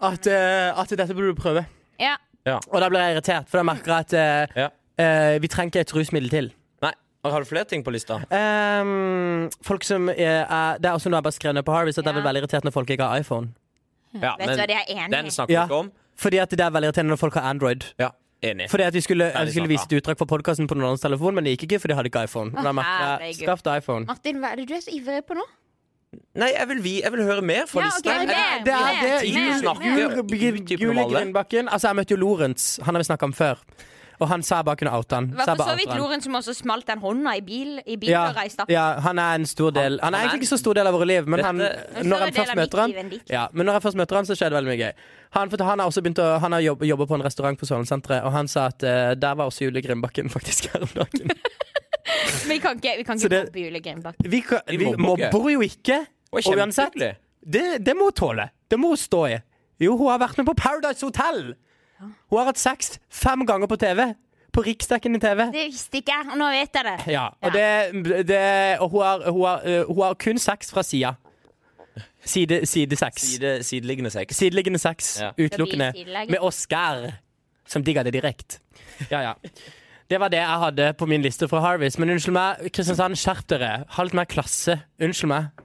A: at, eh, at dette burde du prøve.
B: Ja.
A: Og da ble jeg irritert, for da merker jeg at eh,
C: Ja.
A: eh, vi trenger ikke et rusmiddel til.
C: Nei, har du flere ting på lista?
A: Ehm, folk som er, er, Det er også noe jeg bare skrev ned på Harvest, at jeg blir veldig irritert når folk ikke har iPhone.
C: Ja,
B: Vet du hva, det er jeg enig i.
C: Den snakker vi
A: Ja.
C: ikke om.
A: Fordi at det er veldig irriterende når folk har Android.
C: Ja, enig.
A: Fordi at vi skulle,
C: Ferdig
A: vi skulle
C: snakka.
A: vise et utdrag fra podkasten på noen annens telefon, men det gikk ikke, for de hadde ikke iPhone. Og Da merker jeg,
B: herregud.
A: Skaff deg iPhone.
B: Martin, hva er det du er så ivrig på nå?
C: Nei, jeg vil, vi, jeg vil høre mer fra
B: Ja,
C: lista.
B: ok,
C: Jeg-
B: mer.
A: Det er det.
B: Mer,
A: Jul,
C: mer.
A: jul, jul,
C: Utdype
A: jul
C: om
A: i
C: alle.
A: Grindbakken. Altså, jeg møtte jo Lorentz. Han har vi snakka om før. Og han sa jeg bare kunne oute han.
B: Det var
A: jeg
B: for
A: bare
B: så vidt
A: outa han.
B: Loren som også smalt den hånda i bil i bil
A: Ja,
B: og reiste.
A: ja, han er en stor del Han er
C: han er-
A: egentlig ikke så stor del av våre liv, men
C: Dette-
A: han,
C: En
A: når,
B: større
A: han
B: del
A: først
B: av
A: møter
B: mitt liv enn
A: han,
B: ditt.
A: ja, men når jeg først møter han, så skjer det veldig mye gøy. Han, for han har også begynt å Han har jobb, jobber på en restaurant på Sørlandssenteret, og han sa at eh, der var også Julie Grindbakken faktisk her om dagen.
B: Men vi kan ikke, vi kan
A: Så
B: ikke
A: det-
B: bo på julegrimbakk.
A: Vi, kan-
C: Vi
A: vi
C: mobber ikke.
A: mobber jo ikke.
C: Og
A: Og uansett,
C: kjempehyggelig.
A: det, det må hun tåle. Det må hun stå i. Jo, hun har vært med på Paradise Hotel! Hun har hatt sex fem ganger på TV. På riksdekkende TV.
B: Det visste ikke jeg, og nå vet jeg det.
A: Ja, og, det, det, og hun, har, hun, har, eh, hun har kun sex fra sida. Side, side sex.
C: Side, sideliggende sex.
A: Sideliggende sex.
C: Ja.
A: Utelukkende.
B: Det blir sideliggende.
A: Med Oscar, som digga det direkte. Ja, ja. Det var det jeg hadde på min liste fra Harvest. Men unnskyld meg, Kristiansand, skjerp dere. Ha litt mer klasse. Unnskyld meg.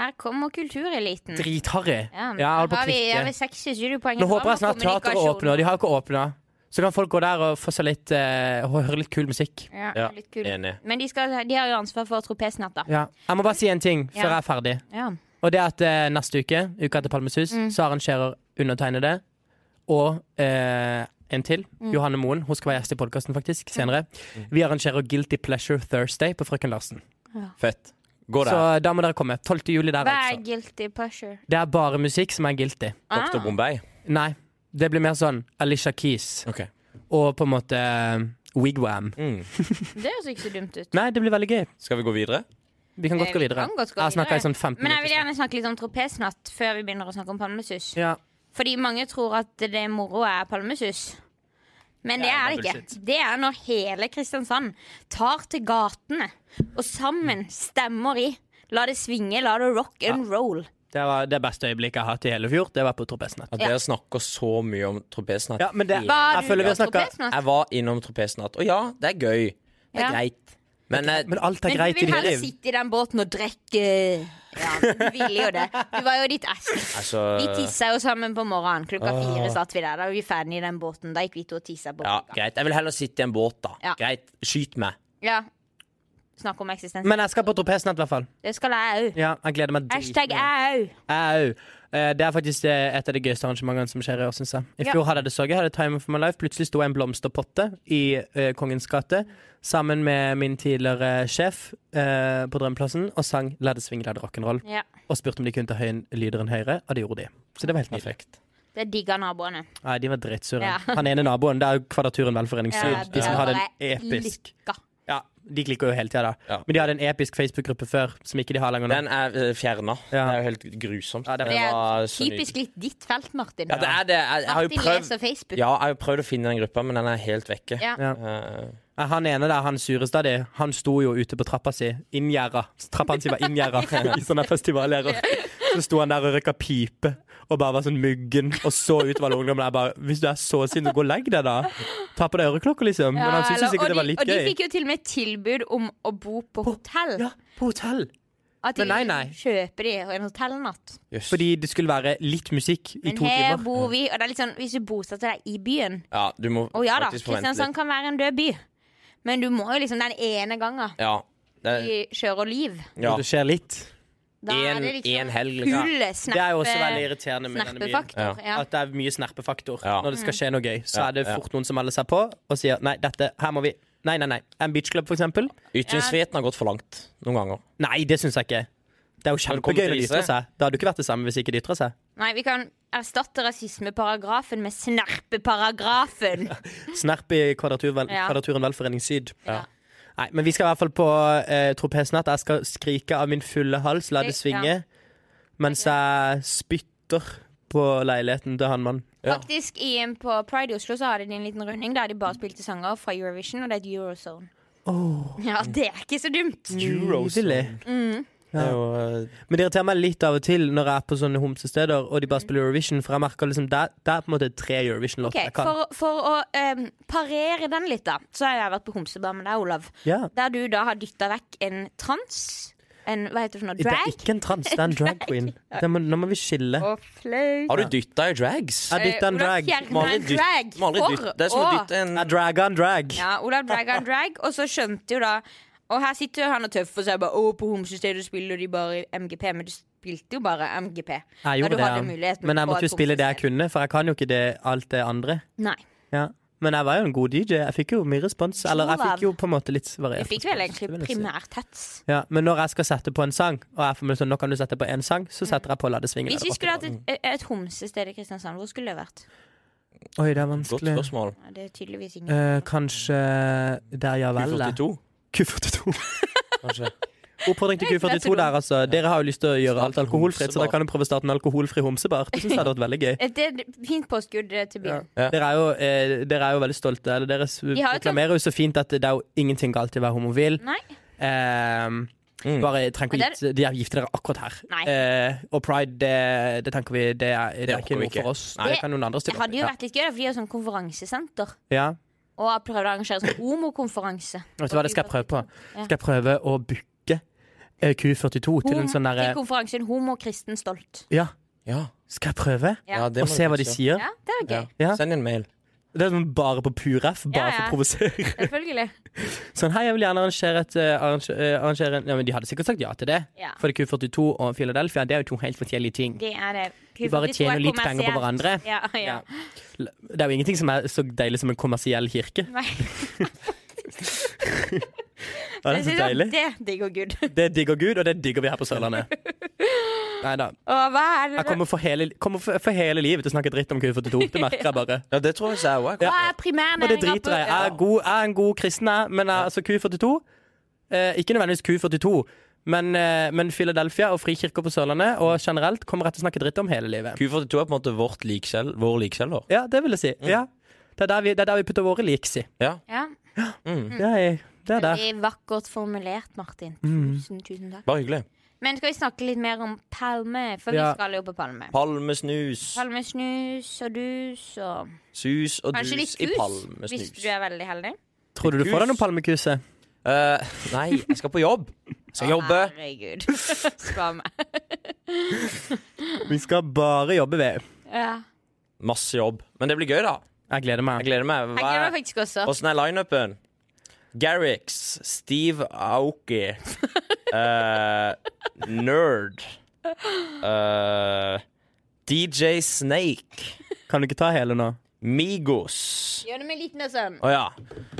B: Her kommer kultureliten.
A: Dritharry.
B: Ja, men
A: jeg
B: her
A: holdt på å
B: har vi,
A: klikke.
B: har vi 60 studiepoeng.
A: Nå håper jeg snart teateret åpner. De har ikke åpna. Så kan folk gå der og få seg litt eh, og høre litt kul musikk.
B: Ja,
C: Ja,
B: litt kul.
C: enig.
B: Men de, skal, de har jo ansvar for tropesnatta.
A: Ja. Jeg må bare si en ting før
B: Ja.
A: jeg er ferdig.
B: Ja.
A: Og det er at eh, neste uke, uka etter Palmesus, så arrangerer undertegnede og eh, en til, Johanne Moen, hun skal være gjest i podkasten faktisk, senere. Vi arrangerer Guilty Pleasure Thursday på Frøken Larsen.
C: Fett. Gå
A: Så eh,
C: der.
A: da må dere komme. 12. juli der,
B: Hva er
A: altså.
B: guilty pleasure?
A: Det er bare musikk som er guilty.
C: Dr.
B: Ah.
C: Bombay.
A: Nei, det blir mer sånn Alicia Keys
C: Ok.
A: og på en måte eh, Wigwam.
B: Det høres ikke så dumt ut.
A: Nei, det blir veldig gøy.
C: Skal vi gå videre?
A: Vi kan godt gå
B: Eh, Vi
A: videre.
B: kan godt gå
A: Jeg snakka
B: videre.
A: i sånn 15
B: Men jeg vil
A: minutter.
B: gjerne snakke litt om tropesnatt før vi begynner å snakke om palmesus.
A: Ja.
B: Fordi mange tror at det moro er palmesus. Men det
A: Ja,
B: er
A: det er
B: det ikke.
A: bullshit.
B: Det er når hele Kristiansand tar til gatene og sammen stemmer i. La det svinge, la det rock and roll.
A: Det var det beste øyeblikket jeg har hatt i hele fjor. Det var på Tropesnatt.
C: At dere snakker så mye om tropesnatt.
A: Ja, men det,
B: Var
A: jeg
B: du
A: føler vi
B: på
A: har snakka
B: tropesnatt?
C: Jeg var innom tropesnatt. Og ja, det er gøy. Det er
B: Ja.
C: greit. Men, eh,
A: Men alt er
B: Men
A: greit
B: du
A: i
B: vil
A: ditt
B: heller
A: liv.
B: sitte i den båten og drikke. Ja, du ville jo det. Du var jo ditt ess.
C: altså
B: Vi tissa jo sammen på morgenen. Klokka fire satt vi der. Da var vi ferdig i den båten. Da gikk vi to og tissa på.
C: Ja, greit. Jeg vil heller sitte i en båt, da.
B: Ja.
C: Greit. Skyt meg.
B: Ja. Snakk om eksistens.
A: Men jeg skal på Tropesnatt, i hvert fall.
B: det skal jeg òg.
A: Ja, jeg gleder meg
B: Hashtag jeg òg.
A: Au. Eh, Det er faktisk eh, et av de gøyeste arrangementene som skjer i år, syns jeg. I
B: Ja.
A: fjor hadde jeg det så gøy. Jeg hadde Time of My Life. Plutselig sto jeg i en blomsterpotte i eh, Kongens gate sammen med min tidligere sjef eh, på Drømmeplassen og sang La det svinge, la det rock'n'roll.
B: Ja.
A: Og spurte om de kunne ta høyen lyder enn høyere, og det gjorde de. Så det var helt nydelig.
B: Det digger naboene.
A: Nei, de var dritsure.
B: Ja.
A: Han ene naboen, det er jo Kvadraturen velforening Syd.
B: Ja,
A: de som
B: det
A: hadde
B: bare
A: en episk
B: Lykka.
A: Ja, de klikker jo hele tida, da.
C: Ja.
A: Men de hadde en episk Facebook-gruppe før som ikke de har lenger nå.
C: Den er fjerna.
A: Ja.
C: Det er jo helt grusomt.
A: Ja, det er-
B: Det
C: var
B: er
C: så
B: typisk litt ditt felt, Martin.
C: Ja, det er det. Jeg, jeg har jo
B: Martin
C: prøvd
B: leser Facebook.
C: Ja, jeg har jo prøvd å finne den gruppa, men den er helt vekke.
B: Ja.
A: Ja.
C: Eh,
A: Nei, Han ene der, han sureste av de, han sto jo ute på trappa si, inngjerda. Trappa hans var inngjerda i sånne festivalgjerder. Så sto han der og røyka pipe og bare var sånn muggen og så utover alle ungdommene. Jeg bare Hvis du er så sint, gå og legg deg, da. Ta på deg øreklokka, liksom. Men han syntes
B: eller-
A: jo sikkert
B: og
A: det var
B: de-
A: litt
B: Og de
A: gøy.
B: fikk jo til og med tilbud om å bo på hotell.
A: Ja, på hotell.
B: At de
A: Men nei, nei.
B: kjøper de en hotellnatt.
C: jøss.
A: Fordi det skulle være litt musikk i
B: Men
A: to
B: her
A: timer.
B: bor vi, og det er litt sånn hvis du bosetter deg i byen
C: Ja, du må
B: Å ja da,
C: faktisk forvente
B: Kristiansand
C: litt.
B: kan være en død by, men du må jo liksom den ene gangen
C: Ja. Det,
B: de kjører liv.
C: ja.
A: Og det skjer litt.
B: Da er
C: En-
B: det liksom
C: en helg, liksom.
B: fulle
A: Det er jo også veldig
B: snappe,
A: irriterende med denne byen.
B: snappefaktor. Ja. Mm.
A: At det er mye snerpefaktor.
C: Ja.
A: Når det skal skje noe gøy, så
C: Ja,
A: er det
C: ja.
A: fort noen som melder seg på og sier nei, dette, her må vi Nei, nei, nei. En beachclub, for eksempel.
C: Ytringsfriheten har gått for langt noen ganger.
A: Nei, det syns jeg ikke. Det er jo
C: det kommer
A: kjempegøy når
C: til
A: de
C: å
A: ytrer
C: vise.
A: seg. Det hadde jo ikke vært det samme hvis ikke de ytra seg.
B: Nei, vi kan erstatte rasismeparagrafen med snerpeparagrafen.
A: Snerp i Kvadraturvel
B: Ja.
A: Kvadraturen Velforening Syd. Nei, men vi skal i hvert fall på eh, tropesnatt. Jeg skal skrike av min fulle hals, la det
B: Det-
A: svinge, mens jeg spytter på leiligheten til han mannen.
C: Ja.
B: Faktisk i, På Pride i Oslo så hadde de en liten runding der de bare spilte sanger fra Eurovision, og det er et Eurozone. Ja, det er ikke så dumt.
A: Nydelig.
C: Det er jo, eh,
A: Men det irriterer meg litt av og til når jeg er på sånne homsesteder og de bare spiller Eurovision, for jeg merker liksom det, det er på en måte tre Eurovision-låter
B: Ok,
A: jeg kan.
B: for, for å em, parere den litt, da, så har jeg vært på homsebar med deg, Olav.
A: Ja.
B: Der du da har dytta vekk en trans, en hva heter det for noe,
A: Det er
B: drag.
A: ikke en trans, det er en drag queen. Det må, nå må vi skille.
B: Og flaut.
C: har du dytta i drags?
A: Jeg dytta en drag.
C: Må
B: fjerna
C: aldri
B: en Eh,
C: dytte-
B: drag.
C: må aldri
B: for
C: dytte- Det er som å
B: å-
C: dytte en
A: Jeg dragga en drag.
B: Ja, Olav dragga en drag, og så skjønte jo da Og her sitter jo han og tøffer seg bare, Å, på homsestedet spiller de bare MGP, men du spilte jo bare MGP.
A: Jeg
B: da
A: gjorde
B: du hadde
A: det, ja.
B: muligheten
A: men jeg
B: på
A: måtte
B: et
A: jo spille det jeg
B: homsested.
A: kunne, for jeg kan jo ikke det, alt det andre.
B: Nei.
A: Ja. Men jeg var jo en god DJ. Jeg fikk jo mye respons. Eller jeg
B: Olav.
A: fikk jo på en måte litt variert.
B: Jeg fikk vel
A: respons, det
B: egentlig
A: vil jeg si.
B: primært hets.
A: Ja, men når jeg skal sette på en sang, og jeg får meg sånn, nå kan du sette på én sang, så setter jeg på La det svinge.
B: Mm. Hvis vi
A: eller
B: skulle hatt
A: rock'n'roll.
B: et, et homsested i Kristiansand, hvor skulle det vært?
A: Oi, det er
C: Godt
A: vanskelig.
C: spørsmål.
B: Ja, Det er tydeligvis ingen.
A: Eh, kanskje eh, der, ja vel. det.
C: Q42,
A: Q42.
C: kanskje.
A: Oppfordring til Q42 der, altså. Dere har jo lyst til å gjøre alt alkoholfritt, så da kan du prøve å starte en alkoholfri homsebar. Det synes jeg hadde vært veldig gøy.
B: Et- Eh, Det er et fint påskudd eh, til byen.
A: Dere er jo, eh, dere er jo veldig stolte. Eller dere s-
B: har jo tatt-
A: reklamerer jo så fint at det er jo ingenting galt i å være homofil.
B: Nei.
A: Ehm, Bare trenger ikke
B: Mm. Men
A: å gifte, de er gifte dere akkurat her.
B: Nei.
A: Eh, og pride, det, det tenker vi det er, det er ikke
C: orker vi
A: noe
C: ikke.
A: for oss.
C: Nei.
A: det kan noen andre
B: Det
A: stille opp
B: hadde
A: i.
B: jo vært litt gøy, da, for de har sånn konferansesenter.
A: Ja. ja.
B: Og har prøvd å arrangere sånn homokonferanse.
A: Vet du hva, det skal jeg prøve på. Skal jeg prøve å booke eh, Q42 til en sånn
B: Til
A: derre
B: konferansen Homo kristen stolt.
A: Ja,
C: Ja.
A: skal jeg prøve?
B: Ja.
C: ja, det må
A: Og se
C: du
A: hva de
C: fikse.
A: sier?
B: Ja, det er gøy.
C: Ja.
A: Ja.
C: Send en mail.
A: Det er sånn bare på pur F, bare
B: Ja, ja.
A: for å provosere.
B: Selvfølgelig.
A: Sånn, hei, jeg vil gjerne arrangere et eh, arrange- eh, arrangere en... Ja, men de hadde sikkert sagt ja til det.
B: Ja.
A: For det er Q42 og Philadelphia, det er jo to helt forskjellige ting.
B: Det er eh, det.
A: De bare tjener litt penger på hverandre.
B: Ja, ja.
A: Ja. Det er jo ingenting som er så deilig som en kommersiell kirke.
B: Nei,
A: Ja, det er
B: jeg
A: så
B: synes at
A: deilig.
B: det digger Gud.
A: Det digger Gud, og det digger vi her på Sørlandet. Nei da.
B: Og hva er det
A: Jeg kommer for hele, kommer for, for hele livet til å snakke dritt om Q42. Det merker jeg bare.
C: Ja, det tror jeg ikke jeg òg.
B: Hva er
A: Og det
B: primærnæringa
A: driter jeg. Jeg er, god, jeg er en god kristen, jeg, men jeg, altså Q42 eh, Ikke nødvendigvis Q42, men, eh, men Philadelphia og frikirker på Sørlandet og generelt kommer jeg til å snakke dritt om hele livet.
C: Q42 er på en måte vårt likskjell, vår likskjeller.
A: Ja, det vil jeg si. Ja. Det, er der vi, det er der vi putter våre liks i.
C: Ja.
B: Ja.
A: Det er, det er der. Mm.
B: Veldig vakkert formulert, Martin. Tusen, tusen takk.
C: Bare hyggelig.
B: Men skal vi snakke litt mer om Palme? For
A: Ja.
B: vi skal jo på Palme.
C: Palmesnus,
B: Palmesnus og dus og
C: sus og
B: Kanskje litt
C: dus
B: kus,
C: i
B: hvis
C: palmesnus.
B: du er veldig heldig.
A: Tror du du får deg noen palmekuse?
C: Eh, nei, jeg skal på jobb. Jeg skal jobbe.
B: Herregud. Spar meg.
A: Vi skal bare jobbe ved.
B: Ja.
C: Masse jobb. Men det blir gøy, da.
A: Jeg gleder meg.
C: Jeg gleder meg.
B: Jeg gleder meg faktisk også.
C: Åssen er lineupen? Garrix, Steve Aoki, eh, Nerd eh, DJ Snake,
A: Kan du ikke ta hele nå?
C: Migos
B: Gjør det med liten og sånn.
C: Å ja.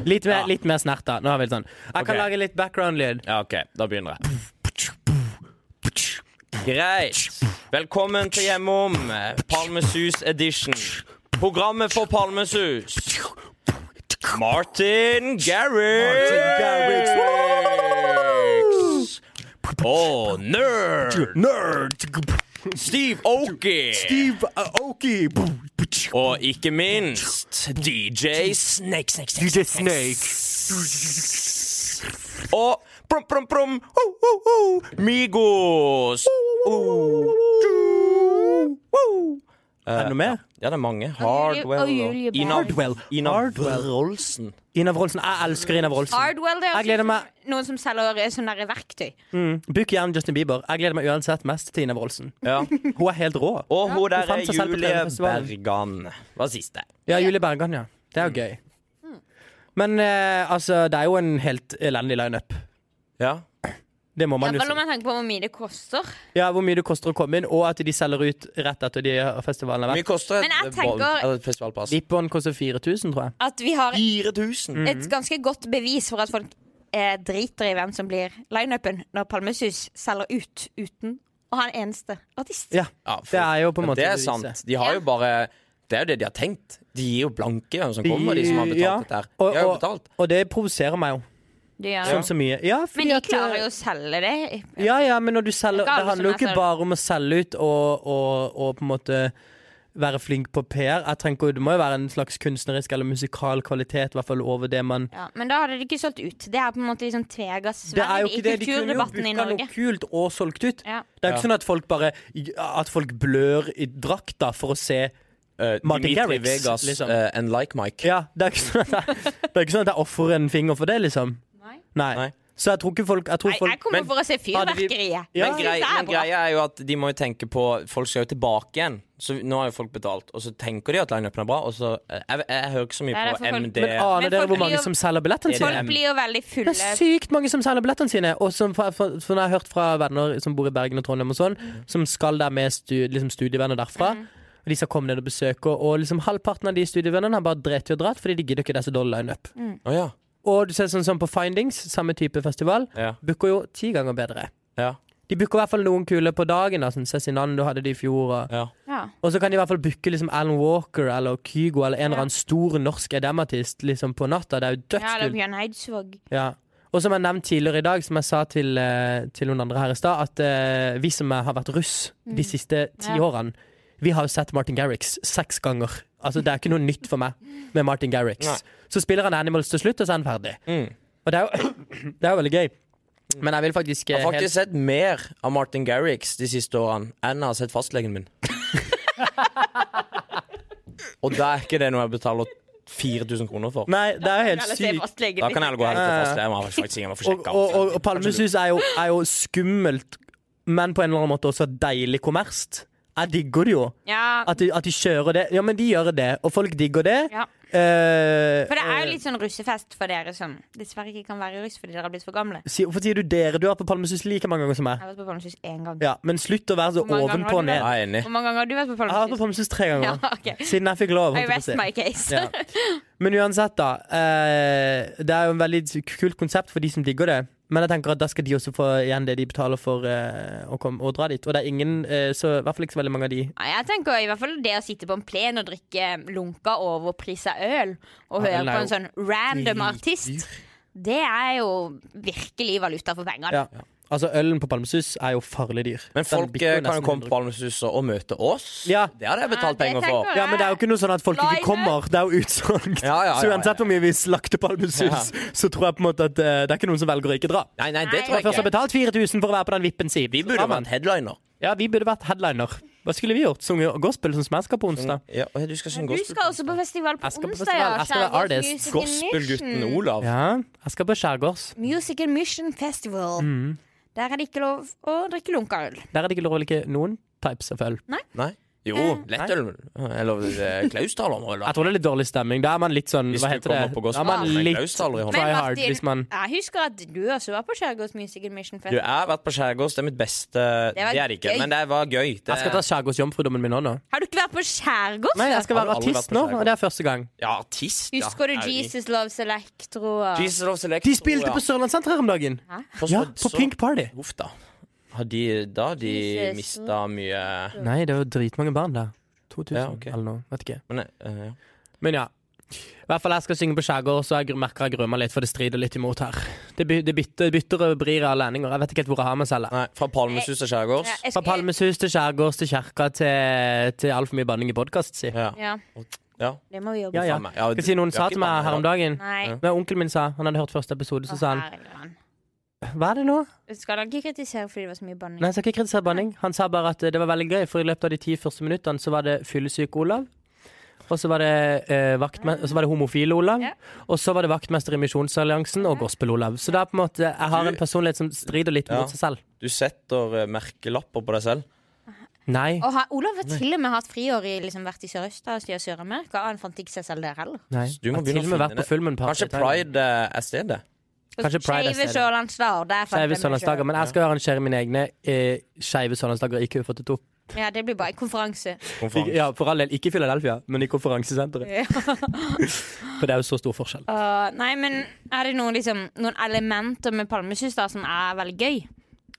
A: Litt mer,
C: Ja.
A: litt mer snert, da. Nå har vi det sånn. Jeg
C: Ok.
A: kan lage litt background-lyd.
C: ja. OK, da begynner jeg. Greit. Velkommen til Hjemom, Palmesus edition. Programmet for Palmesus. Martin Garrix. Og Nerd. Steve Oki. Og ikke minst DJ Snake, Snake, Snake. DJ Snake. Og prom, prom, prom. Ho, ho, ho. Migos.
A: Er det noe mer?
C: Eh, Ja, det er mange.
B: Og
C: Hardwell
B: Julie Berg.
C: Ina
A: Hardwell.
C: Ina
A: Hardwell.
C: Rolsen.
A: Inav Rolsen. Jeg elsker Inav Rolsen.
B: Hardwell, det er
A: Jeg gleder meg.
B: også noen som selger sånne der verktøy.
A: Book gjerne Justin Bieber. Jeg gleder meg uansett mest til Inav Rolsen.
C: Ja.
A: Hun er helt rå.
C: Og hun der
A: fant
C: er
A: seg selv på
C: Julie
A: Trønderfestivalen.
C: Bergan. Hva siste?
A: Ja, Julie Bergan, ja. Det er jo gøy. Men eh, altså, det er jo en helt elendig lineup.
C: Ja.
A: Det må man jo
B: Iallfall når
A: si.
B: man tenker på hvor mye det koster.
A: Ja, Hvor mye det koster å komme inn, og at de selger ut rett etter de festivalene har
C: Mye
A: vært.
C: koster et,
B: Men jeg
C: eh,
B: tenker-
C: ball- eller et festivalpass?
A: Vippon koster 4000, tror jeg.
B: At vi har
A: Mm.
C: 4000.
B: et ganske godt bevis for at folk eh, driter i hvem som blir lineupen når Palmesus selger ut uten å ha en eneste artist.
A: Ja,
C: Ja, for-
A: Det er jo på en
C: Ja,
A: måte
C: Det er
A: beviset.
C: sant. De har jo bare Det er jo det de har tenkt. De gir jo blanke hvem som kommer, de som har betalt
A: Ja,
C: dette her.
A: Og,
C: De har jo
A: og-
C: betalt.
A: og det provoserer meg jo.
B: Du gjør
A: Sånn så
B: det.
A: mye. Ja, fordi
B: Men de
A: at, eh,
B: klarer jo å selge det.
A: Ja, ja, men når du selger,
B: Det er ikke
A: det
B: alle
A: handler jo
B: som er
A: ikke
B: selv-
A: bare om å selge ut og, og, og på en måte være flink på PR. Jeg tenker, jo- Det må jo være en slags kunstnerisk eller musikal kvalitet, i hvert fall over det man
B: Ja, men da hadde de ikke solgt ut. Det er på en måte liksom tvegass
A: Det er jo
B: sverd i
A: ikke det. De kunne jo
B: kulturdebatten i
A: booka noe
B: Norge.
A: kult og solgt ut.
B: Ja.
A: Det er jo ikke sånn at folk bare At folk blør i drakta for å se
C: Eh,
A: Martin
C: Dimitri
A: Garrix,
C: Vegas
A: liksom.
C: eh, and like Mike.
A: Ja, det er ikke sånn at jeg, det er ikke sånn at jeg ofrer en finger for det, liksom.
B: Nei.
A: Nei.
C: Nei.
A: Så jeg tror ikke folk Jeg tror
B: Nei, jeg
A: folk
B: kommer
C: Men-
B: for å se
A: Hadde vi-
B: fyrverkeriet.
A: Ja.
C: Men, grei,
B: Det er
C: men
B: bra.
C: greia er jo at de må jo tenke på Folk skal jo tilbake igjen. Så nå har jo folk betalt, og så tenker de at lineupen er bra, og så eh, Jeg, jeg hører ikke så mye
B: Det er
C: på
B: derfor folk-
C: MD.
A: Men ah. aner
B: Men
A: dere
B: folk
A: hvor
B: blir
A: mange
B: jo-
A: som selger billettene
C: det er
A: sine?
B: Folk blir jo veldig
A: Det
B: fulle.
A: er sykt mange som selger billettene sine. Og som fra, fra, som jeg har hørt fra venner som bor i Bergen og Trondheim, og sånn
C: Mm.
A: som skal der med stu, liksom studievenner derfra. Og De skal komme ned og besøke, og, og liksom halvparten av de studievennene har bare drept i å dra fordi de gidder ikke disse dårlige lineup.
C: Å ja.
A: Og du ser sånn som på Findings, samme type festival,
C: Ja.
A: booker jo ti ganger bedre.
C: Ja.
A: De booker i hvert fall noen kule på dagen, da, sånn Cezinando hadde de i fjor. Og,
C: ja.
B: Ja.
A: og så kan de i hvert fall booke liksom Alan Walker eller Kygo eller en eller annen stor norsk EDM-artist liksom på natta. Det er jo
B: ja, eller
A: dødskult.
B: Bjørn Eidsvåg.
A: Ja. Og som jeg nevnte tidligere i dag, som jeg sa til, eh, til noen andre her i stad, at eh, vi som har vært russ de siste ti
B: Mm. Ja.
A: årene, vi har jo sett Martin Garrix seks ganger. Altså Det er ikke noe nytt for meg med Martin Garrix.
C: Nei.
A: Så spiller han Animals til slutt, og så er han ferdig.
C: Mm.
A: Og det er jo, det er jo veldig gøy. Men jeg vil faktisk, eh,
C: Jeg har faktisk sett mer av Martin Garrix de siste årene enn jeg har sett fastlegen min. og da er ikke det noe jeg betaler 4000 kroner for.
A: helt Nei, det er jo helt
B: Eller se
A: sykt.
B: fastlegen
C: Da kan jeg heller gå
B: min.
C: heller til fastlegen. Jeg må faktisk jeg må få
A: Og,
C: sjekka.
A: Eh. og, og, og Palmesus er jo, er jo skummelt, men på en eller annen måte også deilig kommerst. Jeg digger det jo.
B: Ja,
A: At de, at de kjører det. Ja, men de gjør det, og folk digger det.
B: Ja.
A: Eh,
B: For det er jo litt sånn russefest for dere som dessverre ikke kan være russ fordi dere har blitt for gamle.
A: si- Hvorfor sier du dere? Du har vært på Palmesus like mange ganger som meg.
B: Jeg har vært på Palmesus én gang.
A: Ja, Men slutt å være så
B: Hvor mange ganger
A: ovenpå
B: har
A: og
B: du
A: ned.
B: vært?
C: Jeg er enig.
B: Hvor mange ganger har du vært på
A: Jeg har vært på Palmesus
B: Palmesus?
A: tre
B: Ja,
A: ganger.
B: ok.
A: Siden jeg fikk lov. holdt
B: I
A: jeg på å
B: rest
A: si.
B: my case.
A: Ja. Men uansett, da. Eh, det er jo en veldig kult konsept for de som digger det. Men jeg tenker at da skal de også få igjen det de betaler for eh, å, komme, å dra dit. Og det er ingen, eh, så i hvert fall ikke så veldig mange av de.
B: Nei, Jeg tenker i hvert fall det å sitte på en plen og drikke lunka overprisa øl og høre
D: ølen er
B: på en sånn random
D: dritdyr.
B: artist, det er jo virkelig valuta for pengene.
A: Ja. Altså, ølen på Palmesus er jo farlig dyr. Den
C: Men folk
A: bikker jo
C: eh, kan
A: nesten
C: jo komme på
A: 100.
C: Palmesuset og møte oss.
A: Ja.
C: Det hadde jeg
B: Ja,
C: betalt
B: det
C: penger for.
B: tenker jeg.
A: Ja, men det er jo ikke noe sånn at folk
B: Live.
A: ikke kommer. Det er jo utsolgt.
C: Ja, ja, ja,
A: Så uansett hvor mye vi slakter Palmesus,
C: Ja.
A: så tror jeg på en måte at eh, det er ikke noen som velger å ikke dra.
C: Nei,
B: Nei.
C: nei, det tror
A: Først har
C: jeg ikke.
A: betalt 4000 for å være på den vippen si.
C: Vi burde vært headliner.
A: Ja, vi burde vært headliner. Hva skulle vi gjort? Sunget gospel som smasker på onsdag?
C: Ja, du skal synge
B: Du skal også på festival på
A: altså. Jeg skal på
B: onsdag,
A: festival. Jeg skal være
B: Skjærgårds
A: artist.
B: Music and
C: Gospelgutten
B: Mission.
C: Olav.
A: Ja, jeg skal på skjærgårds.
B: Music and Mission Festival.
A: Mm.
B: Der er det ikke lov å drikke lunkaøl.
A: Der er det ikke lov å like noen types av øl.
C: Nei? Jo, lettøl. Eller eh, Klausdal om øl. da.
A: Jeg tror det er litt dårlig stemning. Da er man litt sånn
C: Hvis
A: Hva
C: du
A: heter det?
C: kommer på gospel
A: Da er man
C: med en
A: litt
C: klausdaler i hånda.
A: try hard
B: Martin,
A: hvis man
B: jeg husker at du også var på Skjærgårds Music and Mission
C: Du,
B: Festival.
C: jeg har vært på skjærgårds. Det er mitt beste Det,
B: var
C: er det ikke,
B: gøy.
C: men det var gøy. Det,
A: Jeg skal ta skjærgårdsjomfrudommen min nå, nå.
B: Har du ikke vært på Skjærgårds?
A: Nei, jeg skal
C: Har du
A: være
C: aldri vært
A: artist
C: på
A: nå,
C: skjærgård?
A: og det er første gang.
C: ja, artist, ja.
B: Husker du
C: Er vi-
B: Jesus Loves Electro? og-
C: Jesus Loves Electro,
A: De spilte på Sørlandssenteret her om dagen!
C: Så-
A: Ja, på
C: så-
A: Pink Party.
C: Uff, da. Har de, da har de
B: Jesus.
C: mista mye
A: Nei, det var dritmange barn der. 2000
C: Ja, ok.
A: eller noe. Vet ikke.
C: Men, eh, ja.
A: Men ja. I hvert fall jeg skal synge på skjærgård, så jeg gr- merker jeg gruer meg litt, for det strider litt imot her. Det, by, det bytter, bytter og vrir av lendinger. Jeg vet ikke helt hvor jeg har meg selv.
C: Nei, fra Palmesus til skjærgårds.
B: Ja, jeg
A: Fra
B: skulle-
A: Palmesus til skjærgårds til kirka til, til altfor mye banning i podkast, si.
C: Ja.
B: Ja,
C: Ja.
B: det må vi jobbe
A: Ja, ja.
C: Faen meg. Ja,
A: Skal jeg si noen
C: vi
A: sa
C: har
A: til
C: ikke
A: meg her om
C: banning
A: dagen
B: Nei.
A: Nei, Onkelen min sa Han hadde hørt første episode, så sa han Hva er det nå?
B: Skal han ikke kritisere fordi det var så mye banning?
A: Nei, jeg skal ikke kritisere banning. Han sa bare at eh, det var veldig gøy, for i løpet av de ti første minuttene så var det fyllesyk Olav. Og så var det, eh, vaktme- og så var det homofile Olav.
B: Ja.
A: Og så var det vaktmester i Misjonsalliansen og gospel-Olav. Så det er på en måte, jeg har en personlighet som strider litt
C: Ja.
A: mot seg selv.
C: Du setter eh, merkelapper på deg selv.
A: Nei.
B: Og ha, Olav har til og med hatt friår i liksom vært i Sørøst og styrt Sør-Amerika. og Han fant ikke seg selv der heller.
A: nei.
C: Du må
A: jeg har til
C: begynne å
A: og med vært
C: finne
A: på Fulmen Party.
C: Kanskje Pride eh, er stedet?
A: Kanskje Pride er
B: Skeive
A: stedet.
B: Sørlandsdager. Der fant
A: Skeive
B: jeg meg
A: sørlandsdager.
B: selv.
A: Men jeg skal arrangere mine egne eh, skeive sørlandsdager i Q42.
B: Ja, det blir bare en konferanse.
C: Konferanse.
A: Ja, for all del. Ikke i Philadelphia, men i konferansesenteret.
B: Ja.
A: For det er jo så stor forskjell.
B: Uh, nei, men er det noen, liksom, noen elementer med palmesus da som er veldig gøy?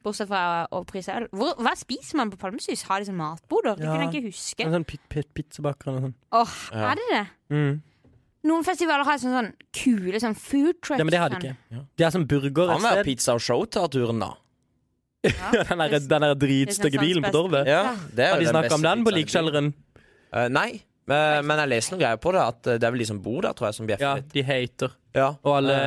B: Bortsett fra å prise øl. Hvor, hva spiser man på palmesus? Har de sånn matboder? Det
A: Ja.
B: kunne jeg ikke huske.
A: En sånn pit, pit, sånn. pizzabaker eller noe sånt.
B: Åh, Er det det?
A: Mm.
B: Noen festivaler har sånn, sånn kule sånn food trucks.
A: Ja, men det har de
B: sånn.
A: ikke. De har sånn burger
C: Han
A: et
C: var
A: sted.
C: pizza og show-turen, da.
A: Den der, den der dritstygge
B: Liksom
A: bilen på torvet.
C: Ja, det er
A: Har
C: jo
A: de snakka
C: beste
A: om den på
C: pizzaen i
A: Likkjelleren?
C: byen. Eh, nei, men, men jeg leser noen greier på det. At eh, det er vel de som bor der, tror jeg, som bjeffer
A: Ja,
C: litt.
A: de hater.
C: Ja.
A: Og alle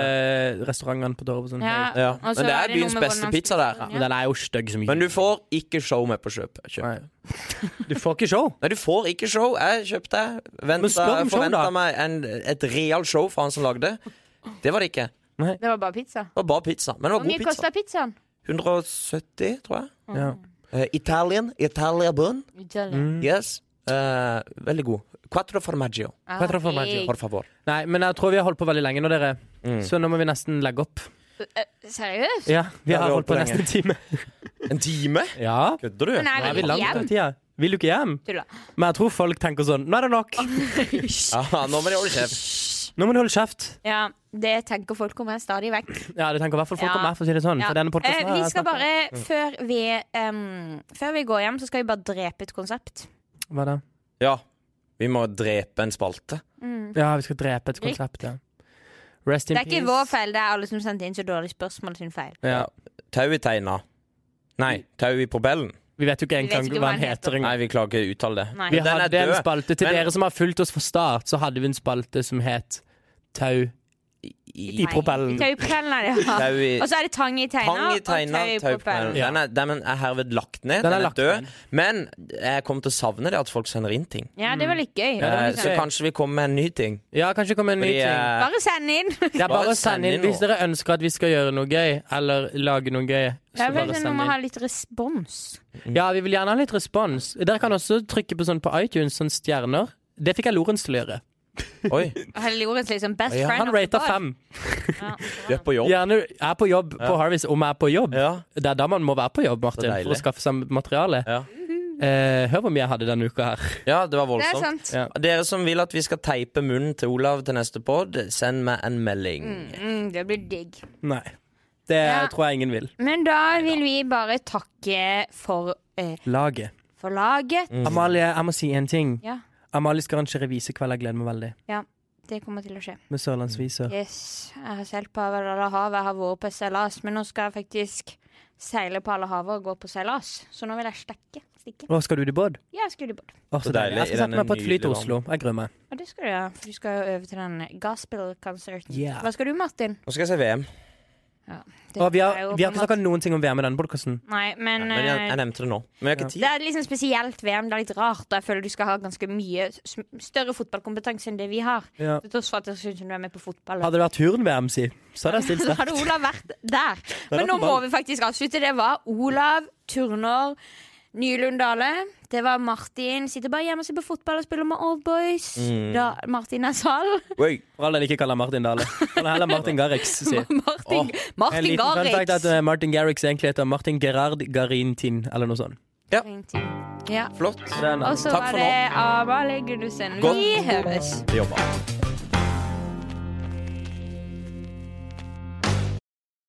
A: restaurantene på torvet og sånn.
B: Ja.
A: hater.
C: Ja.
B: og så
C: Men det er
B: noe
C: byens
B: med hvordan
C: beste
B: man
C: pizza
B: spiser
C: der.
B: den,
A: Men den er jo stygg som
C: Men du får ikke show med på kjøp. kjøp.
A: Nei. Du får ikke show.
C: Nei, du får ikke show. Jeg kjøpte,
A: Men
C: venta,
A: spør om show,
C: forventa
A: da.
C: meg en, et real show fra han som lagde. Det var det ikke. Det
B: Ja. Det var bare pizza.
C: var bare pizza. Men
B: Hvor
C: det var god
B: mye
C: pizza.
B: kosta pizzaen?
C: 170, tror jeg.
A: Ja.
C: Eh, Italian. Italia bun.
A: Mm.
C: Yes. Eh, veldig god. Quattro formaggio.
B: Ah,
A: Quattro formaggio.
B: digg.
C: Por favor.
A: Nei, men jeg tror vi har holdt på veldig lenge nå, dere. Så nå må vi nesten legge opp.
B: Eh, Seriøst?
A: Ja, vi
C: Ja, vi
A: har
C: har
A: holdt på
C: holdt på
A: nesten en time.
C: En time?
A: Ja.
C: Kødder du?
B: Men
A: Nå er
B: jeg
A: vi
B: vil ikke
A: langt over
B: hjem.
A: tida. Vil du ikke hjem?
B: Tulla.
A: Men jeg tror folk tenker sånn Nå er det nok.
C: Ja, nå må de holde kjeft.
A: Nå må du holde kjeft.
B: Ja, det tenker folk om meg stadig vekk.
A: Ja, det tenker i hvert fall folk
B: Ja.
A: om meg, Mm, for å si det sånn.
B: Ja.
A: For denne podcasten
B: Eh,
A: har
B: vi
A: jeg
B: skal
A: snakket Mm.
B: bare, før vi, em, før vi går hjem, så skal vi bare drepe et konsept.
A: om. Hva da?
C: Ja. Vi må drepe en spalte.
A: Ja, vi skal drepe et konsept, ja. Rest in
B: Det er
A: peace.
B: ikke vår feil, det er alle som sendte inn så dårlige spørsmål sin feil.
A: Ja.
C: Tau i teina. Nei, tau i propellen.
A: Vi vet jo ikke
B: vet
A: engang
B: ikke
A: hva han heter
C: Nei,
A: engang.
C: vi klarer ikke å uttale det.
B: Nei.
A: Vi
C: Men den er
A: hadde en
C: død.
A: spalte til
C: Men-
A: dere som har fulgt oss fra start, så hadde vi en spalte som het Tau i
C: I-
A: propellen.
B: Tau i propellen er det, ja.
C: Tau i
B: Og så er det tang i teina,
C: Tang i teina,
B: og tau i
C: tau i propellen.
B: propellen.
A: Ja.
C: Den er, den er herved lagt ned.
A: Den
C: Den
A: er
C: er,
A: lagt ned.
C: død. Men jeg kommer til å savne det at folk sender inn ting.
B: Ja, det var litt gøy.
A: Ja, det var
C: Eh,
A: litt
C: Så
A: gøy.
C: kanskje vi kommer med en ny ting.
A: Ja, kanskje det kommer en ny
C: Fordi,
A: ting.
C: eh,
B: Bare send inn!
A: Det er bare
C: bare
A: å sende
C: send
A: inn
C: inn
A: hvis dere ønsker at vi skal gjøre noe gøy, eller lage noe gøy.
B: Det
A: Så
B: er vel
A: bare
B: sånn
A: send
B: Man må ha
A: inn.
B: litt respons.
A: Ja, vi vil gjerne ha litt respons. Dere kan også trykke på sånn på iTunes, sånn stjerner. Det fikk jeg Lorentz til å gjøre.
C: Oi.
B: Helle Jorens liksom best
C: Ja,
B: friend
A: Han
B: of the
A: rater
B: pod.
A: fem.
B: Ja.
C: Du er på jobb.
A: Gjerne er på jobb på Harvis om jeg er på jobb.
C: Ja.
A: Det er da man må være på jobb,
C: Så
A: Martin,
C: deilig.
A: for å skaffe seg materiale.
C: Ja.
A: Eh, hør hvor mye jeg hadde denne uka her.
C: ja, det var
B: Det er
C: voldsomt.
B: sant.
A: Ja.
C: Dere som vil at vi skal teipe munnen til Olav til neste pod, send meg en melding.
B: Mm, det blir digg.
A: Nei. Det
B: Ja.
A: tror jeg ingen vil.
B: Men da vil vi bare takke for, eh,
A: Laget.
B: for laget.
A: Amalie, jeg må si en ting.
B: Ja.
A: Amalie skal arrangere visekveld. Jeg gleder meg veldig.
B: Det kommer til å skje.
A: Med sørlandsviser.
B: Yes, Jeg har seilt på alle havet, jeg har vært på seilas, men nå skal jeg faktisk seile på alle havet og gå på seilas. Så nå vil jeg stekke. Stikke.
A: Å, skal du i båt?
B: Ja, jeg skulle i båt.
A: Å, så
C: Så deilig,
A: deilig. Jeg
C: i
A: skal sette
C: denne
A: meg på et fly til
C: nydelige
A: Oslo. Jeg gruer meg.
B: Og det skal du gjøre, for du skal jo øve til den gospel-konserten.
A: Yeah.
B: Hva skal du, Martin?
C: Nå skal jeg se VM.
B: Det
A: Og vi har,
B: er jo
A: vi har ikke
B: på en måte-
A: snakka noen ting om VM i denne podkasten.
B: Nei, men,
C: Men jeg,
B: eh,
C: jeg nevnte det nå. Men jeg har ikke tid.
B: Det er liksom spesielt VM. Det er litt rart. og Jeg føler du skal ha ganske mye s- større fotballkompetanse enn det vi har.
A: Ja.
B: Til tross for at jeg syns du er med på fotball.
A: Hadde det vært turn-VM, si, så hadde jeg stilt
B: Hadde
A: sterkt.
B: Olav vært der. Men nå må vi faktisk avslutte. Det var Olav Turner Nylund Dale. Det var Martin. Sitter bare hjemme og ser på fotball og spiller med Old Boys.
A: Mm.
B: Da Martin er sal.
C: Oi.
A: For all del ikke kaller Martin Dale. Han er heller Martin Garrix, si.
B: Martin,
A: En
B: Martin
A: liten fun fact er at
B: Garrix.
A: eh, Martin Garrix egentlig heter Martin Gerard Garintin, eller noe sånt.
B: Ja.
C: Flott.
A: Det er en-
B: Og så
C: Takk
B: var
C: for nå.
B: det Amalie Gundersen. Vi høres.
C: Jobba.